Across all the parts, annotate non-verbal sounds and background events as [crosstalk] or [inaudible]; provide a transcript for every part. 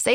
Say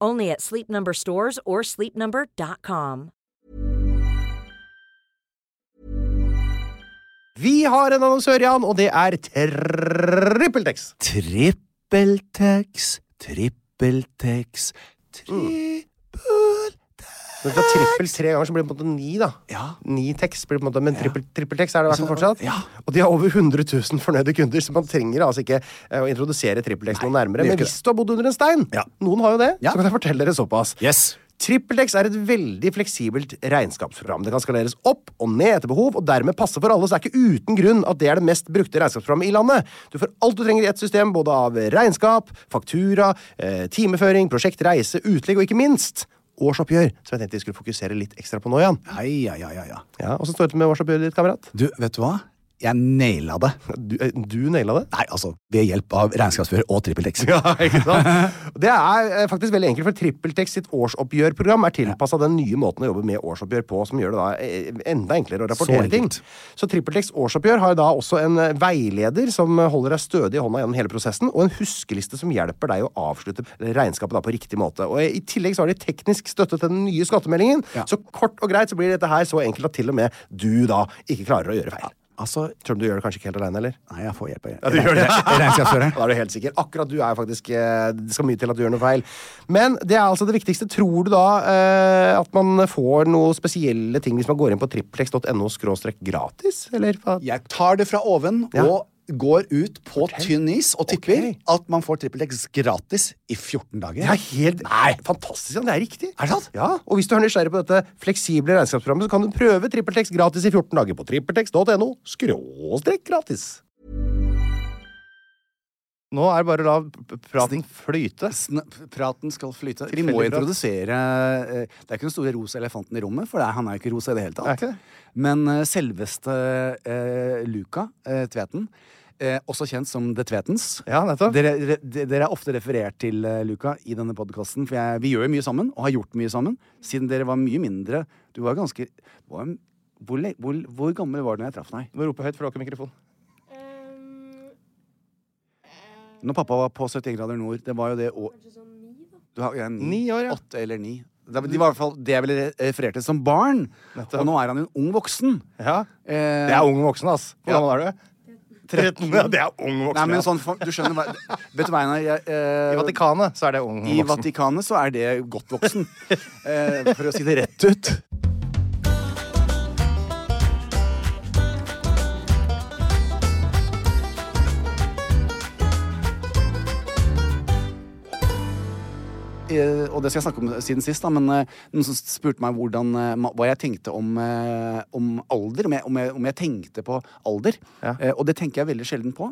Only at Sleep Number stores or sleepnumber.com. Vi har en annonsør, Jan, og det er TrippelTex. Trippeltex, trippeltex, trippel... Når du tar trippel tre ganger, så blir det på en måte ni, da. Ja. Altså, Ni tex blir det på en måte, men trippel, trippeltex er det i hvert fall fortsatt. Ja. Og de har over 100 000 fornøyde kunder, så man trenger altså ikke eh, å introdusere trippeltex noe nærmere. det gjør Men ikke hvis du har bodd under en stein, Ja. noen har jo det, Ja. så kan jeg fortelle dere såpass. Yes. TrippelTex er et veldig fleksibelt regnskapsprogram. Det kan skaleres opp og ned etter behov, og dermed passe for alle, så det er ikke uten grunn at det er det mest brukte regnskapsprogrammet i landet. Du får alt du trenger i ett system, både av regnskap, faktura, eh, timeføring, prosjekt, reise, utlegg og ikke minst årsoppgjør, som jeg tenkte vi skulle fokusere litt ekstra på nå, Jan. Ai, ai, ai, ai, ai. Ja, Åssen står det til med årsoppgjøret ditt, kamerat? Du, vet du hva? Jeg naila det. Du, eh, du naila det. Nei, altså, ved hjelp av regnskapsfører og trippeltex. [laughs] Ja, ikke sant? Det er eh, faktisk veldig enkelt, for TrippelTex sitt årsoppgjørprogram er tilpassa den nye måten å jobbe med årsoppgjør på, som gjør det da eh, enda enklere å Så rapportere ting. enkelt. Så TrippelTex årsoppgjør har da også en eh, veileder som eh, holder deg stødig i hånda gjennom hele prosessen, og en huskeliste som hjelper deg å avslutte regnskapet da på riktig måte. Og eh, I tillegg så har de teknisk støtte til den nye skattemeldingen, Ja. så kort og greit så blir dette her så enkelt at til og med du da ikke klarer å gjøre feil. Altså, Selv om du gjør det kanskje ikke helt aleine, eller? nei, [laughs] jeg får hjelp av Ja, du gjør det. regnskapsføreren. Da er du helt sikker. Akkurat du er faktisk eh, Det skal mye til at du gjør noe feil. Men det er altså det viktigste. Tror du da eh, at man får noe spesielle ting hvis man går inn på triplex.no skråstrek gratis? Eller hva? Jeg tar det fra oven Ja. og går ut på tynn is og tipper Ok. at man får trippeltex gratis i 14 dager. Det er helt Nei. fantastisk! Jan. Det er riktig. Er det sant? Ja, og Hvis du er nysgjerrig på dette fleksible regnskapsprogrammet, så kan du prøve TrippelTex gratis i 14 dager på trippeltex.no skråstrek gratis. Nå er det bare å la p- praten flyte. Sn- Praten skal flyte. Vi Tilfeldig må prat. introdusere eh, Det er ikke den store rosa elefanten i rommet, for det er, han er jo ikke rosa i det hele Er ikke tatt. det? Men eh, selveste eh, Luca eh, Tveten, eh, også kjent som The Tvetens Ja, nettopp. dere, re- de- dere er ofte referert til eh, Luca i denne podkasten, for jeg, vi gjør jo mye sammen, og har gjort mye sammen, siden dere var mye mindre Du var ganske du var, en- hvor, le- hvor, hvor gammel var du da jeg traff deg? Du må rope høyt, for du har ikke mikrofon. Når pappa var på 71 grader nord, det var jo det år Du har, ja, ni, Ni år, ja. Åtte eller ni. Det, de var i hvert fall det jeg ville re- referert til som barn. Nettopp. Og nå er han en ung voksen. Ja. Eh, Det er ung voksen, ass. Hvor Ja. gammel er du? 13. Ja, det er ung voksen. Nei, men ja. sånn, for- du skjønner hva Vet du hva, Einar? jeg, eh, I Vatikanet så er det ung I voksen. Vatikanet så er det godt [laughs] voksen. eh, for å si det rett ut. Eh, og det skal jeg snakke om siden sist, da, men eh, noen som spurte meg hvordan, eh, ma- hva jeg tenkte om, eh, om alder. Om jeg, om, jeg, om jeg tenkte på alder. Ja. Eh, og det tenker jeg veldig sjelden på.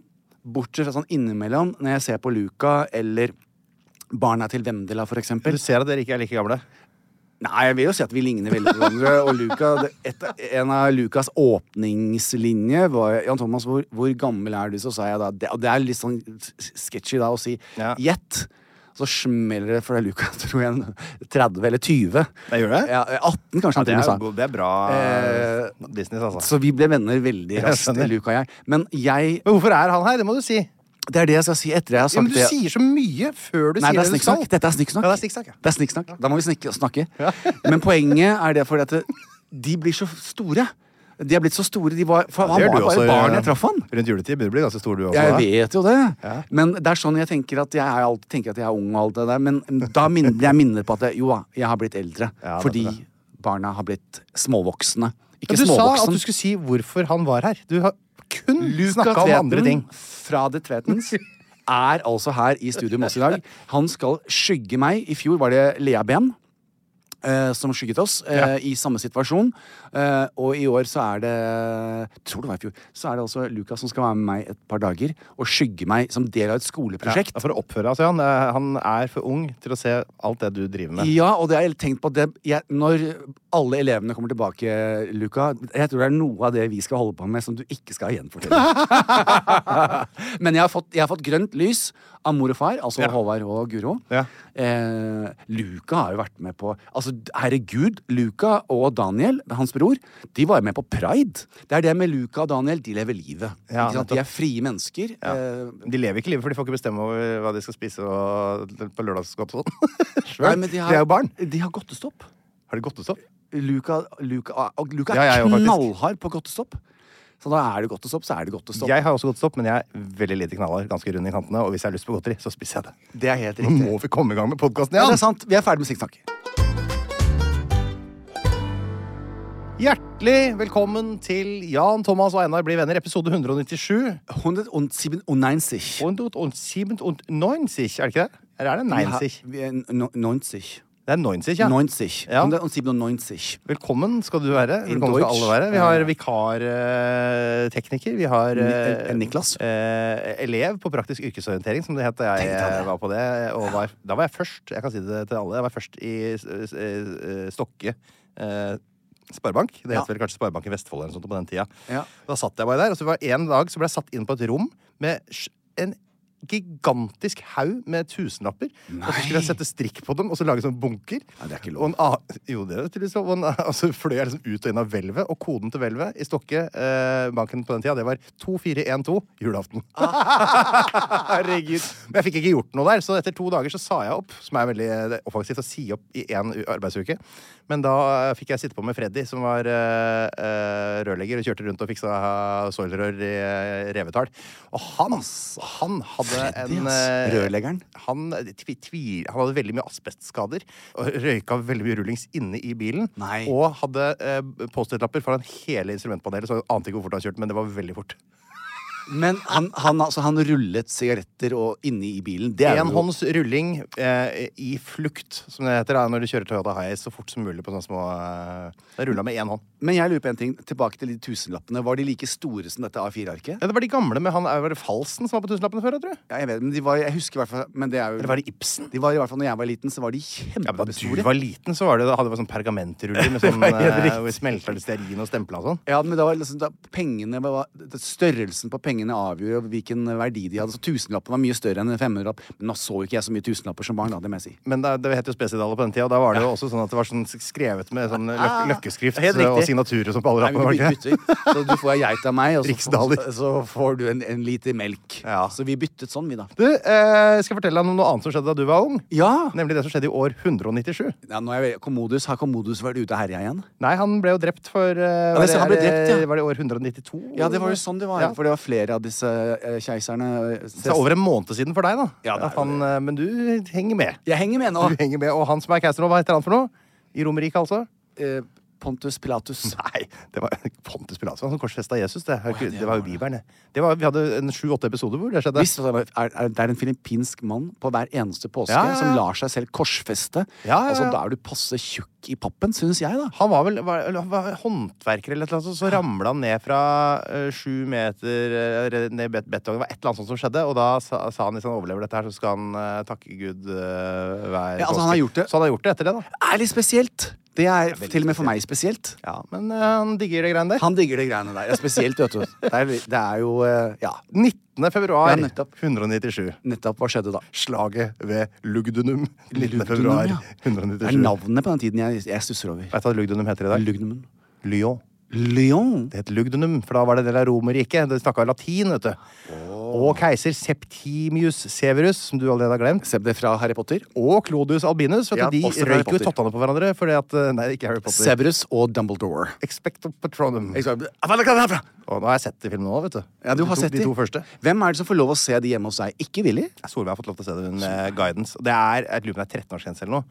Bortsett fra sånn innimellom når jeg ser på Luca eller barna til Vendela, for eksempel. Du ser at dere ikke er like gamle. Nei, jeg vil jo si at vi ligner veldig på hverandre. Og Luca, det, et, en av Lucas åpningslinjer var Jan Thomas, hvor, hvor gammel er du? Så sa jeg da Det, og det er litt sånn sketchy da å si Ja. gjett. Så smeller det fra Luca, [laughs] tror jeg, 30 eller 20. Det gjør det? Ja, 18 Ja, kanskje han til det, og med sa. er, det er bra Eh, business, altså. Så vi ble venner veldig raskt, skjønner. Luca og jeg. Men jeg Men hvorfor er han her? Det må du si. Det er det jeg skal si etter jeg har Ja, men sagt du det. sier så mye før du sier det Nei, det er du skal. snikksnakk. Dette er Ja, snikksnakk. det er snikksnakk, ja. Det er snikksnakk. Da må vi snikke, snakke. [laughs] Men poenget er det fordi at det- de blir så store. De er blitt så store. De var, for han Det gjør var du bare også, barn eh, jeg traff han. Rundt juletid begynner du å bli ganske stor, du også. Jeg da. vet jo det. Ja. Men det er sånn jeg tenker at jeg er alltid tenker at jeg er ung og alt det der. Men da min- blir jeg minnet på at jeg, jo da, jeg har blitt eldre. Ja, fordi nettopp det. barna har blitt småvoksne. Men Ikke du sa at småvoksen. du skulle si hvorfor han var her. Du har kun Luca snakka om andre ting. Tveten fra The Tvetens er altså her i studio med oss i dag. Han skal skygge meg. I fjor var det Lea Ben. eh, som skygget oss eh, i samme situasjon. Eh, og i år så er det tror det var i fjor, så er det altså Lukas som skal være med meg et par dager og skygge meg som del av et skoleprosjekt. Ja, for å oppføre deg, Jan. eh, Han er for ung til å se alt det du driver med. Ja, og det har jeg tenkt på at det, jeg, Når alle elevene kommer tilbake, Luca Jeg tror det er noe av det vi skal holde på med, som du ikke skal [laughs] gjenfortelle. Men jeg har, fått, jeg har fått grønt lys av mor og far, altså Håvard og Guro. Ja. Eh, Luca har jo vært med på Altså, herregud, Luca og Daniel, hans bror, de var jo med på Pride. Det er det med Luca og Daniel. De lever livet. Ja, ikke sant? De er frie mennesker. Eh, De lever ikke livet, for de får ikke bestemme over hva de skal spise og på lørdagskapselen. nei, Sjøl. men [laughs] De, er jo barn. De har godtestopp. Har de godtestopp? Luca, Luca, ah, og Luca Ja, jeg er jo, faktisk. knallhard på godtestopp. Så da er det godtestopp, så er det godtestopp. Jeg har også godtestopp, men jeg er veldig lite knallhard. Ganske rund i kantene. Og hvis jeg har lyst på godteri, så spiser jeg det. Det er helt Nå riktig. må vi komme i gang med podkasten, Ja, Jan. det er sant. Vi er ferdig med snikksnakk. Hjertelig velkommen til Jan Thomas og Einar blir venner, episode 197. 197. 197, er det ikke det? Eller er det 90? Vi har- vi er no- 90. Det er 90, ja. 90. Ja. 197. Velkommen skal du være. In Velkommen skal Deutsch. alle være. Vi har vikartekniker. Vi har eh, Ni- Niklas. eh, elev på praktisk yrkesorientering, som det het da jeg eh, Tenk deg det. var på det. Og var, da var jeg først. Jeg kan si det til alle. Jeg var først i eh, eh, Stokke. eh, Sparebank. Det het Ja. vel kanskje Sparebanken Vestfold eller noe sånt på den tida. Ja. Da satt jeg bare der, og så var det en dag så ble jeg satt inn på et rom med sj- en gigantisk haug med tusenlapper. Og så skulle jeg sette strikk på dem og så lage sånn bunker. Nei, det er ikke lov. Og en annen, jo, det er tydeligvis lov. Og, en, [laughs] annen- og så fløy jeg liksom ut og inn av hvelvet, og koden til hvelvet i Stokke, eh, banken på den tida, det var 2412 julaften. Ah, Herregud. Men jeg fikk ikke gjort noe der, så etter to dager så sa jeg opp, som er veldig eh, offensivt å si opp i én u- arbeidsuke. Men da eh, fikk jeg sitte på med Freddy, som var eh, eh, rørlegger, og kjørte rundt og fiksa eh, soilrør i eh, revetall. Og han, altså, han hadde Freddy, en ass. eh, Rørleggeren. han, tvi, tvi, han hadde veldig mye asbestskader og røyka veldig mye rullings inne i bilen. Nei. Og hadde eh, Post-It-lapper foran hele instrumentpanelet, så jeg ante ikke hvor fort han kjørte, men det var veldig fort. Men han, han, altså, han rullet sigaretter og inni i bilen. Det er jo Enhånds rulling eh, i flukt, som det heter da, når du kjører Toyota Hiace så fort som mulig på sånne små eh, Det rulla med én hånd. Men jeg lurer på en ting. Tilbake til de tusenlappene. Var de like store som dette A4-arket? Ja, det var de gamle med han var det Falsen som var på tusenlappene før, jeg tror jeg. Ja, jeg vet, men de var, jeg husker i hvert fall Men det er jo Eller var det Ibsen? De var i hvert fall, når jeg var liten, så var de Ja, men da du kjempestore. var liten, så var det, hadde det sånn pergamentruller [laughs] med sånn helt eh, riktig. hvor smelta litt stearin og stempla og sånn. Ja, men det var liksom, da, pengene var, det- Størrelsen på pengene avgjorde hvilken verdi de hadde. Så Tusenlappen var mye større enn en 500-lapp. Men nå så jo ikke jeg så mye tusenlapper som barn. da, det må jeg si. Men det, det het jo Spesidaler på den tida, og da var det jo også sånn at det var sånn skrevet med sånn løk, løkkeskrift Helt riktig. og signaturer og sånn på alle Nei, vi rappene. var det ikke? bytter, så du får ei geit av meg, og så, Riksdaler. så, så får du en, en liter melk. Ja. Så vi byttet sånn, vi, da. Du, eh, skal jeg fortelle deg om noe annet som skjedde da du var ung? Ja! Nemlig det som skjedde i år 197. ja nå er jeg, Commodus, Har Commodus vært ute og herja igjen? Nei, han ble jo drept for eh, var, det stemmer, han ble drept, ja. var det i år 192? Ja, det var jo sånn det var. Ja. For det var flere av disse eh, keiserne. Det er over en måned siden for deg, da. Ja, det er At han, eh, men du henger med. Jeg henger med nå. Du henger med, Og han som er keiser nå, hva heter han for noe? I Romerriket, altså? Eh, Pontus Pilatus. Nei, det var Pontus Pilatus altså. han som korsfesta Jesus. Det, er jo ikke- det det var jo var det. Bibelen, det. det. Var, vi hadde en sju-åtte episoder hvor det skjedde. Visste du at det, var- er, er, det er en filippinsk mann på hver eneste påske Ja, ja, ja. som lar seg selv korsfeste. Ja, ja, Altså, ja. da er du passe tjukk i pappen, syns jeg, da. Han var vel var, eller han var håndverker eller et eller annet, sånt, så ramla han ned fra eh, sju meter eh, ned i bet betongen. Det var et eller annet sånt som skjedde, og da sa, sa han hvis han overlever dette her, så skal han eh, takke Gud eh, hver Ja, altså, han har gjort det. Så han har gjort det etter det, da. Er litt spesielt. Det er til og med for meg spesielt. Ja, men eh, han digger det greiene der. Han digger de greiene der. Ja, spesielt, vet du. Det er, det er jo eh, Ja, 19. februar Ja, nettopp. 197. nettopp. Hva skjedde da? Slaget ved Lugdunum. 19. februar Lugdunum, ja. Det er 197. navnene på den tiden jeg, jeg stusser over. Vet du hva Lugdunum heter i dag? Lugnumen. Lyon. Lyon. Det het Lugdunum, for da var det en del av Romerriket. De snakka latin, vet du. Og keiser Septimius Severus, som du allerede har glemt. Se det fra Harry Potter. Og Clodius Albinus. Vet du, Ja, også de Harry røyk jo Potter. tottene på hverandre fordi at eh, Nei, ikke Harry Potter. Severus og Dumbledore. Expecto Patronum. Jeg sa, «Ah, hva er det herfra?» Og nå har jeg sett de filmene òg, vet du. Ja, du har de to, sett de de. to første. Hvem er det som får lov å se de hjemme hos deg? Ikke Willy? Ja, Solveig har fått lov til å se den med guidance. Og det er jeg lurer på om det er 13-årsgrense eller noe.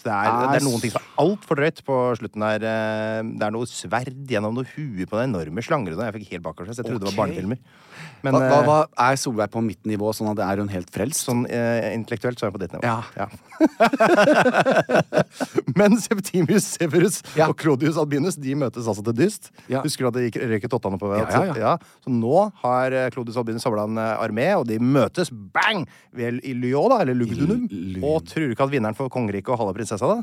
Så det er, Ah, det er noen ting som er altfor drøyt på slutten der. eh, Det er noe sverd gjennom noe hue på den enorme slanger. og sånn. Jeg fikk helt bakover, så jeg trodde det var Ok. barnefilmer. Hva, Men hva, eh, hva er Solveig på mitt nivå, sånn at er hun helt frelst? sånn eh, intellektuelt så er jeg på ditt nivå. Ja. [laughs] Men Septimius Severus Ja. og Clodius Albinus de møtes altså til dyst. Ja. Husker du at det gikk røyket åttene på hverandre? Ja, ja, ja. Så nå har eh, Clodius Albinus samla en eh, armé, og de møtes bang! Vel i Lyon, da, eller Lugdunum. Lyon. Og tror du ikke at vinneren får kongeriket og halve prinsessa, da?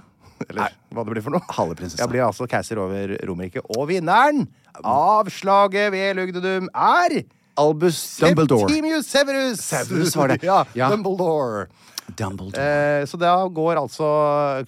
Eller hva det blir for noe? Halve prinsessa. Jeg blir altså keiser over Romerriket. Og vinneren av slaget ved Lugdunum er Albus Dumbledore. Septimius Severus! Severus var det. [laughs] Ja, Ja. Dumbledore. Dumbledore. Eh, Så da går altså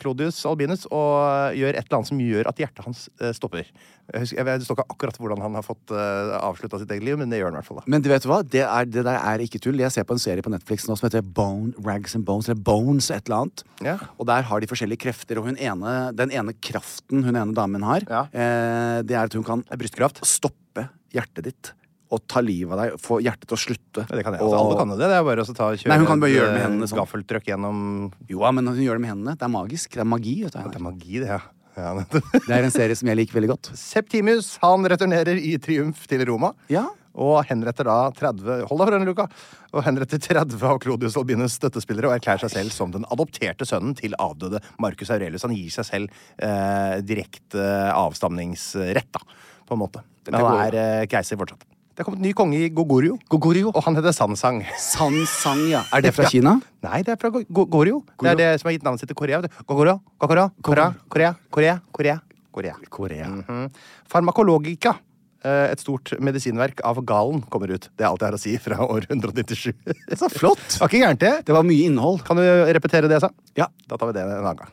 Clodius Albinus og gjør et eller annet som gjør at hjertet hans eh, stopper. Jeg husker, jeg vet- det står ikke akkurat hvordan han har fått avslutta sitt eget liv, men det gjør han i hvert fall. da. Men du vet hva? Det, er, det der er ikke tull. Jeg ser på en serie på Netflix nå som heter Bone, Rags and Bones, eller Bones et eller annet. Ja. Og der har de forskjellige krefter, og hun ene, den ene kraften hun ene damen har, Ja. eh, det er at hun kan Brystkraft. stoppe hjertet ditt og ta livet av deg, få hjertet til å slutte. Ja, Det kan jeg. Og- Altså, alle kan jo det. Det er bare å ta, kjøre Nei, hun kan bare et, gjøre det med eh, hendene sånn. gaffeltrøkk gjennom Jo, ja, men hun gjør det med hendene. Det er magisk. Det er magi. Vet Det du. er magi, det, ja. ja. nettopp. Det er en serie som jeg liker veldig godt. Septimus han returnerer i triumf til Roma. Ja. Og henretter da 30 Hold deg for denne, Luka! Og henretter 30 av Clodius Albinus støttespillere og erklærer seg selv som den adopterte sønnen til avdøde Marcus Aurelius. Han gir seg selv eh, direkte avstamningsrett, da, på en måte. Men han går- er eh, keiser fortsatt. Det er kommet ny konge i Gogorio. Gogorio. Og han heter Sansang. San Sang, ja. Er det fra Kina? Nei, det er fra Go- Go- Gogorio. Det er det som har gitt navnet sitt til Korea. vet du. Gogorio, Gogorio, Korea, Korea, Korea, Korea. Korea. Korea. Mhm. Farmakologica. eh, Et stort medisinverk av Galen kommer ut. Det er alt jeg har å si fra år 197. [laughs] Så flott! Var ikke gærent, det. Det var mye innhold. Kan du repetere det jeg sa? Ja. Da tar vi det en annen gang.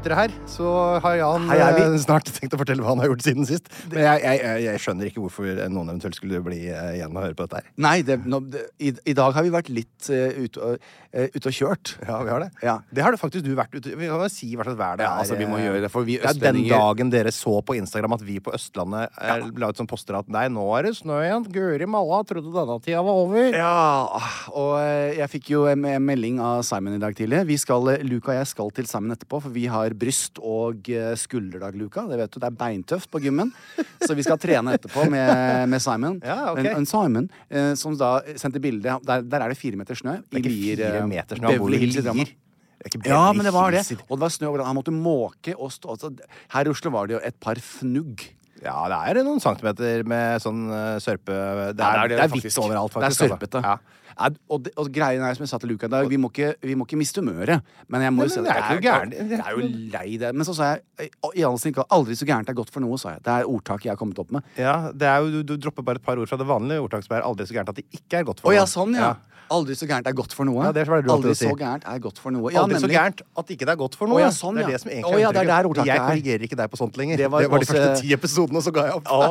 Dere her, så har Jan Hei, er vi- eh, snart tenkt å fortelle hva han har gjort siden sist. Men jeg, jeg, jeg- jeg skjønner ikke hvorfor noen eventuelt skulle bli eh, igjen og høre på dette her. Nei, det, nå, det, i, i dag har vi vært litt eh, ute og, eh, ute og kjørt. Ja, vi har det. Ja. Det har det faktisk du vært ute Vi kan jo si hva slags vær det Ja, altså, vi må eh, gjøre det, for vi er den østlendinger- dagen dere så på Instagram at vi på Østlandet eh, la ut sånn poster at nei, nå er det snø igjen. Guri malla, trodde denne tida var over. Ja, og eh, jeg fikk jo en en melding av Simon i dag tidlig. Vi skal, eh, Luka og jeg skal til Simon etterpå, for vi har bryst- og eh, skulderdag, Luka. Det vet du, det er beintøft på gymmen. Så vi skal trene etterpå med, med Simon. Ja, ok. en, en Simon eh, som da sendte bilde Der, der er det fire meter snø. eh, Det er ikke fire meter snø. Han bor Beverly i Hills i Drammen. Lier. Det er ikke Ja, Beverly men det var det. Hills i- Og det var snø overalt. Han måtte måke og stå altså, Her i Oslo var det jo et par fnugg. Ja, det er noen centimeter med sånn eh, sørpe Det Ja, er, det er, faktisk. vits overalt, Det er faktisk. altså. sørpete. Ja. Ja, og, det- og greien er, som jeg sa til Luca i dag, vi må ikke, vi må ikke miste humøret. Men jeg må Nei, jo si men at det er ikke noe gærent. det er jo lei det. Men så sa jeg i all sin kall, aldri så gærent er godt for noe, sa jeg. Det er ordtaket jeg har kommet opp med. Ja, det er jo, du, du dropper bare et par ord fra det vanlige ordtaket som er aldri så gærent at det ikke er godt Å for ja, noe. sånn, ja. Aldri så gærent er godt for noe. Ja, det var det du alltid aldri sier. så gærent er godt for noe. Ja, Ja, aldri så [laughs] nemlig. gærent at ikke det er godt for noe. Å ja, sånn, det er ja. det som egentlig Å ja, det er inntrykket. der ordtaket Jeg er. korrigerer ikke deg på sånt lenger. Det var de også- første ti episodene, og så ga jeg opp. Å,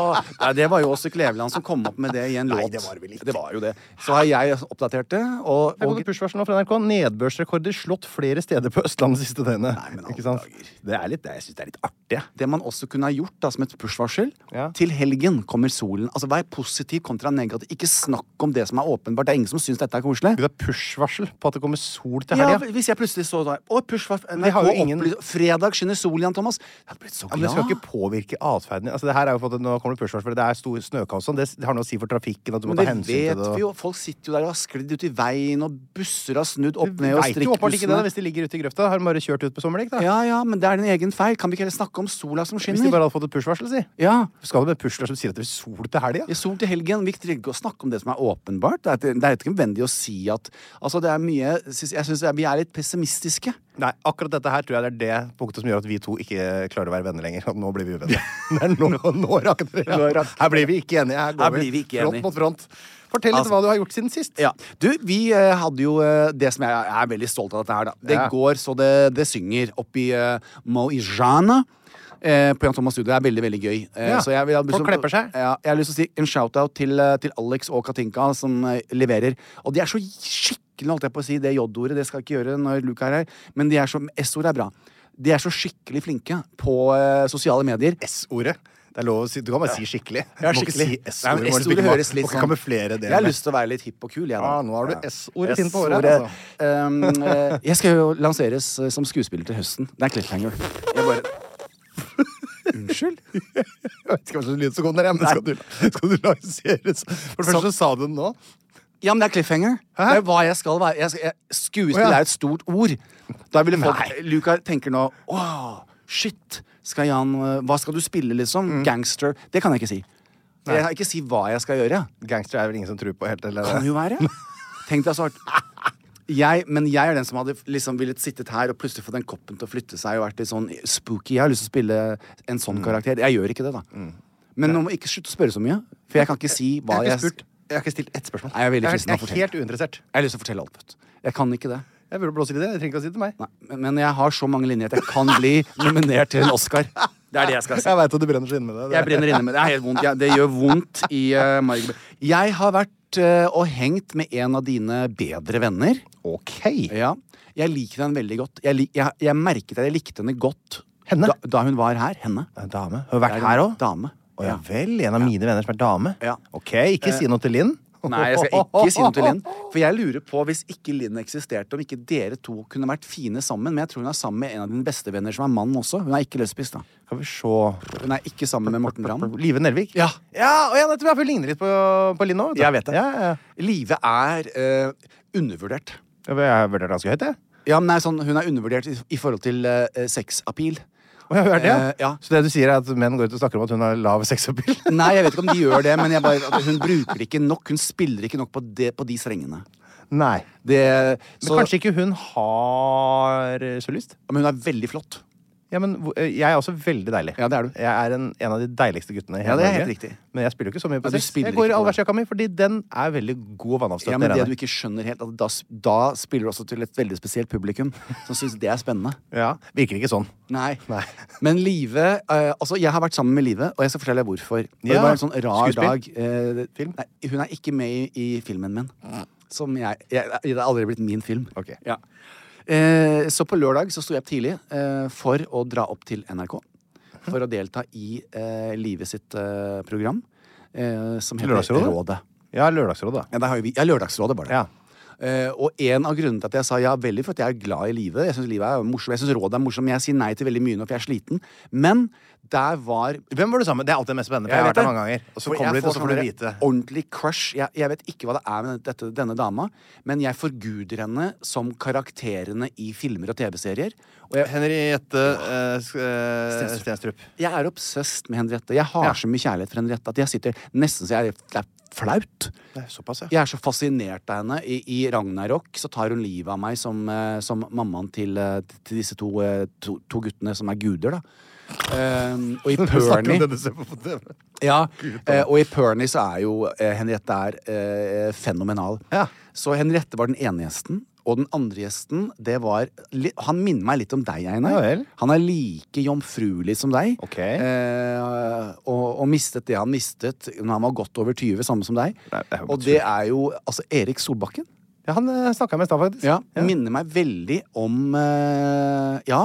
nei, det var jo også Kleveland som kom opp med det i en Nei, låt. det var det vel ikke. var jo det. Så har jeg oppdatert det, og, Her og kommer det push-varsel nå fra NRK. Nedbørsrekorder slått flere steder på Østlandet siste døgnet. Nei, men alle Ikke sant? dager. Det er litt, det- jeg syns det er litt artig. jeg. det man også kunne ha gjort da, som et push-varsel Ja. Til helgen kommer solen. Altså Vær positiv kontra negativ. Ikke snakk om det som er åpenbart. Det er ingen som syns dette er koselig. Det er push-varsel på at det kommer sol til Ja, helga. Hvis jeg plutselig så da Å, push-varsel Det har jo NRK ingen- opplyser- Fredag skinner solen igjen, Thomas. Jeg hadde blitt så Ja, men det glad. skal ikke påvirke atferden din. Altså, det her er jo for at nå kommer det push-varsel, for det er stor snøkaos og sånn. Det har noe å si for trafikken at du må Men ta det hensyn til det. vet og- vi jo. Folk sitter jo der og har sklidd ut i veien, og busser har snudd opp Du ned, og vet jo åpenbart ikke det da, strikkbussene hvis de ligger ute i grøfta. Har de bare kjørt ut på sommerdekk, da? Ja, ja, men det er din egen feil. Kan vi ikke heller snakke om sola som Hvis de skinner? bare hadde fått et push-varsel, si. Ja. Skal du med push-varsel som sier at det er sol til helga? I sol til helgen. Vi trenger ikke å snakke om det som er åpenbart. Det er, det er ikke nødvendig å si at Altså, det er mye Jeg syns vi er litt pessimistiske. Nei, akkurat dette her tror jeg det er det punktet som gjør at vi to ikke klarer å være venner lenger. At nå blir vi [laughs] uvenner. Nei, nå, nå rakner det. Nå rakner Her blir vi ikke enige. Her går Her blir vi ikke enige. front mot front. Fortell litt Altså- hva du har gjort siden sist. Ja. Du, vi eh, hadde jo eh, det som jeg jeg er veldig stolt av dette her, da. Det Ja. går så det, det synger opp i eh, Moijana. Eh, på Jan Thomas Studio. Det er veldig veldig gøy. Eh, Ja. så jeg, vil ha lyst Folk til- klepper seg. Ja, jeg har lyst til å si en shout-out til, eh, til Alex og Katinka, som eh, leverer. Og de er så skikkelig holdt jeg på å si, det J-ordet det skal jeg ikke gjøre når Luke er her, men de er så S-ordet er bra. De er så skikkelig flinke på eh, sosiale medier. S-ordet. Det er lov å si, Du kan bare si skikkelig. Ja, Du må ikke skikkelig. si S-ordet. Nei, men må liksom S-ordet ikke- høres litt må ikke sånn- kamuflere det. Jeg har med- lyst til å være litt hipp og kul. Jeg, da. Ah, nå har du S-ordet fint på S-ordet. håret. Altså. [laughs] Um, eh, jeg skal jo lanseres eh, som skuespiller til høsten. Det er cliffhanger. Jeg bare [laughs] Unnskyld? Jeg vet ikke hva slags lyd som kom der, jeg, men skal du, skal du lanseres? For det første så sa du den nå. Ja, men det er cliffhanger. Hæ? Det er hva jeg skal være. Jeg, skal- jeg, skuespill Å, ja. er et stort ord. Da ville folk Luca tenker nå Åh, shit. Skal Jan eh, Hva skal du spille, liksom? Mm. Gangster. Det kan jeg ikke si. Jeg kan ikke si hva jeg skal gjøre. Gangster er vel ingen som tror på helt, eller? Kan jo være. Tenk deg så hardt. Jeg, men jeg er den som hadde liksom villet sittet her og plutselig fått den koppen til å flytte seg og vært litt sånn spooky. Jeg har lyst til å spille en Mm. sånn karakter. Jeg gjør ikke det, da. Men nå må jeg ikke slutte å spørre så mye, for jeg kan ikke si hva jeg, har jeg ikke spurt, jeg har ikke stilt ett spørsmål. Nei, jeg er veldig jeg kristen, er, fortell. helt uinteressert. Jeg har lyst til å fortelle alt, vet du. Jeg kan ikke det. Jeg burde blåse i det. Jeg trenger ikke å si det til meg. Nei. Men, men jeg har så mange linjer at jeg kan bli nominert til en Oscar. Det er det jeg skal si. Jeg veit at du brenner så inne med det. Jeg brenner inne med det. Det er helt vondt. Jeg, det gjør vondt i uh, margen. Jeg har vært eh, og hengt med en av dine bedre venner. OK. Ja, jeg liker henne veldig godt. Jeg, lik, jeg, jeg merket at jeg likte henne godt Henne? Da, da hun var her. Henne. En dame. Har hun Det vært er her en òg? Dame. Å ja Eh, vel. En av mine venner som er dame. Ja. OK, ikke si noe til Linn. Nei, jeg skal ikke si noe til [laughs] Linn. For jeg lurer på, hvis ikke Linn eksisterte, om ikke dere to kunne vært fine sammen. Men jeg tror hun er sammen med en av dine bestevenner som er mann også. Hun er ikke lesbisk, da. Skal vi se Hun er ikke sammen med Morten Ramm. Live Nelvik? Ja. Ja, og ja nettopp. ja, for Hun ligner litt på, på Linn òg. Jeg vet det. Ja, ja. Live er eh, undervurdert. Ja, men Jeg vurderer ganske høyt, jeg. Ja, men nei, sånn, hun er undervurdert i, i forhold til uh, sexappeal. Å, jeg har hørt det, ja. Eh, ja. Så det du sier, er at menn går ut og snakker om at hun har lav sexappeal? [laughs] Nei, jeg vet ikke om de gjør det, men jeg bare, at hun bruker det ikke nok. Hun spiller ikke nok på, det, på de strengene. Nei. Det, Men så, kanskje ikke hun har eh, så lyst? men hun er veldig flott. Ja, men hvor- eh, jeg er også veldig deilig. Ja, det er du. Jeg er en, en av de deiligste guttene i Ja, hele det er Norge. helt riktig. Men jeg spiller jo ikke så mye Ja, på du sex. spiller Altså, Jeg ikke går i på det. allværsjakka mi, fordi den er veldig god Ja, men vannavstøtning. det du ikke skjønner helt, at da, da spiller du også til et veldig spesielt publikum som syns det er spennende. ja, virker ikke sånn. Nei. Nei. Men Live eh, Altså, jeg har vært sammen med Live, og jeg skal fortelle deg hvorfor. Og Det Ja. var en sånn rar Skuespill? dag. eh, Nei, hun er ikke med i, i filmen min. Som jeg, jeg Det har aldri blitt min film. Ok. Ja. Eh, så på lørdag så sto jeg opp tidlig eh, for å dra opp til NRK. For å delta i eh, Live sitt eh, program, eh, som heter Lørdagsrådet? Rådet. Ja, Lørdagsrådet, da. Ja, der har jo vi, ja, Lørdagsrådet var det. Ja. Eh, og en av grunnene til at jeg sa ja veldig, for at jeg er glad i livet. Jeg syns livet er morsomt, jeg synes rådet er morsomt, men jeg sier nei til veldig mye nå, for jeg er sliten. Men der var Hvem var du sammen med? Det er alltid det mest spennende. For jeg, Jeg har vet vært der det. mange ganger. Og så For kommer du jeg hit, og så får du sånn vite. Ordentlig crush. Jeg, jeg vet ikke hva det er med dette, denne dama, men jeg forguder henne som karakterene i filmer og TV-serier. Og jeg, Henriette eh, Sk- eh, Stenstrup. Stenstrup. jeg er obsessed med Henriette. Jeg har så mye kjærlighet for Henriette at jeg sitter nesten så jeg det er flaut. Det er såpass, ja. Jeg er så fascinert av henne. I, i Ragnarok så tar hun livet av meg som, eh, som mammaen til, eh, til disse to, eh, to, to guttene som er guder, da. Ehm, og i Du [laughs] snakker om Pernie det du ser på på TV. ja, eh, og i Pernie så er jo eh, Henriette er eh, fenomenal. Ja. Så Henriette var den ene gjesten. Og den andre gjesten, det var li- Han minner meg litt om deg, Ja Einar. vel. han er like jomfruelig som deg. Ok. Eh, og, og mistet det han mistet når han var godt over 20, samme som deg. Nei, det er jo og det er jo altså Erik Solbakken. Ja, han eh, snakka jeg med i stad, faktisk. Ja, Minner meg veldig om eh, Ja,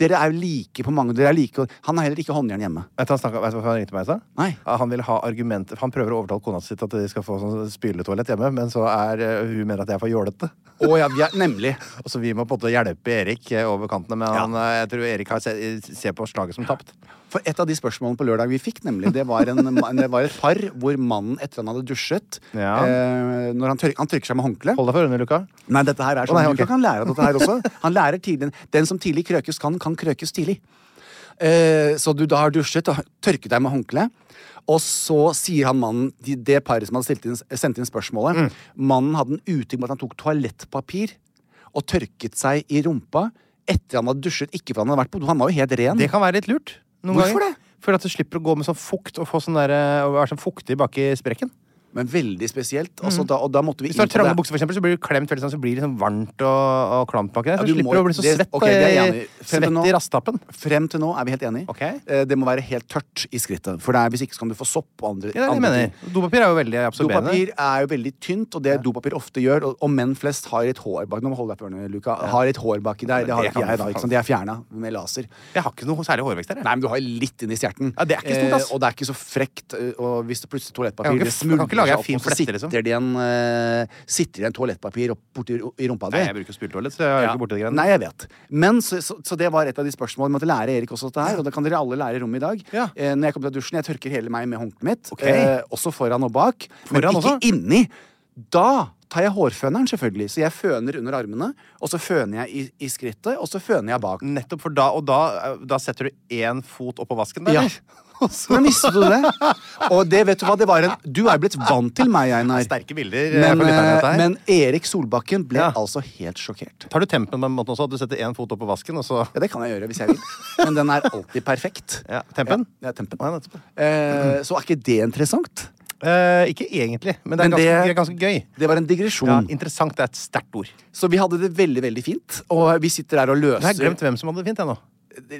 dere er jo like på mange. Dere er like, han har heller ikke håndjern hjemme. Vet du, han snakket, vet du hva han ringte meg i stad? Nei. Ja, Han vil ha argumenter Han prøver å overtale kona si til at de skal få sånn spyletoalett hjemme, men så er eh, hun mener at jeg er for jålete. Å ja, vi er, nemlig. Og så vi må på en måte hjelpe Erik eh, over kantene, men Ja. han, eh, jeg tror Erik har se, ser på slaget som tapt. For et av de spørsmålene på lørdag vi fikk, nemlig, det var, en, det var et par hvor mannen etter han hadde dusjet Ja. eh, Når han, tør, han tørker seg med håndkle. Hold deg for øynene, Luka. Nei, dette her er Å, sånn. nei, Luka ok. kan lære av dette her også. Han lærer tidlig. Den som tidlig krøkes kan, kan krøkes tidlig. Eh, så du da har dusjet og tørket deg med håndkle. Og så sier han mannen, de- det paret som hadde stilt inn, sendt inn Mm. spørsmålet Mannen hadde en uting med at han tok toalettpapir og tørket seg i rumpa etter han hadde dusjet. Ikke fordi han hadde vært på do, han var jo helt ren. Det kan være litt lurt. Noen Hvorfor ganger. det? For at du slipper å gå med sånn fukt og, få sånn der, eh, og være sånn fuktig baki sprekken. Men veldig spesielt. Mm. Altså, da, og da måtte vi Hvis du har inn på trange det. bukser, for eksempel, så blir du klemt veldig sånn, så blir det sånn varmt og, og klamt baki der. Ja, Så du du slipper må- å bli så det- svett, ok, det er jeg i- enig i. Frem til svett nå- i rastappen. Frem til nå er vi helt enige. Ok. Eh, Det må være helt tørt i skrittet. For det er, hvis ikke så kan du få sopp og andre, Ja, det er det jeg andre ting. mener. Dopapir er jo veldig absorberende. Dopapir er jo veldig tynt, og det dopapir ofte gjør Og, og menn flest har et hår bak Nå må du holde deg på ørene, Luka. Har et hår baki der. Det har det kan ikke du jeg da. faen. Ikke sant? Det er fjerna med laser. Jeg har ikke noe særlig hårvekst her. jeg. Nei, men du har litt inni stjerten. Ja, det er ikke stort, ass. Eh, og det er ikke så frekt. eh, Og hvis det plutselig toalettpapir Jeg kan ikke- det jeg kan ikke lage seg en opp, fin og så flette, sitter liksom. det en, eh, sitter det en toalettpapir opp borti ro- i rumpa di. Nei, jeg bruker spyltoalett, så jeg er jo Ja. ikke borti de greiene. Nei, jeg vet. Men, så, så, så det var et av de spørsmålene. Vi måtte lære Erik også dette her, og det kan dere alle lære i rommet i dag. Ja. Eh, når jeg kommer til dusjen, jeg tørker hele meg med håndkleet mitt. eh, Ok. også foran og bak. Foran men ikke også? inni. Da tar jeg hårføneren, selvfølgelig. Så jeg føner under armene, og så føner jeg i, i skrittet, og så føner jeg bak. Nettopp, for da og da, eh, da setter du én fot oppå vasken der. [laughs] Ja. eller? Og så- Men visste du det? Og det, vet du hva, det var en Du er blitt vant til meg, Einar. Sterke bilder. eh, Men, fra lytterne, dette eh, her. men Erik Solbakken ble Ja. altså helt sjokkert. Tar du tempen på den måten også? At du setter én fot oppå vasken, og så Ja, det kan jeg gjøre hvis jeg vil. Men den er alltid perfekt. [laughs] Ja, tempen? Ja, ja, tempen. Å, ja, nettopp. Eh, så er ikke det interessant? Eh, Ikke egentlig, men det er, ganske, Men det- det Mm. er ganske gøy. Det var en digresjon. Ja, interessant er et sterkt ord. så vi hadde det veldig veldig fint. Og vi sitter her og Jeg har løser glemt hvem som hadde det fint, jeg nå.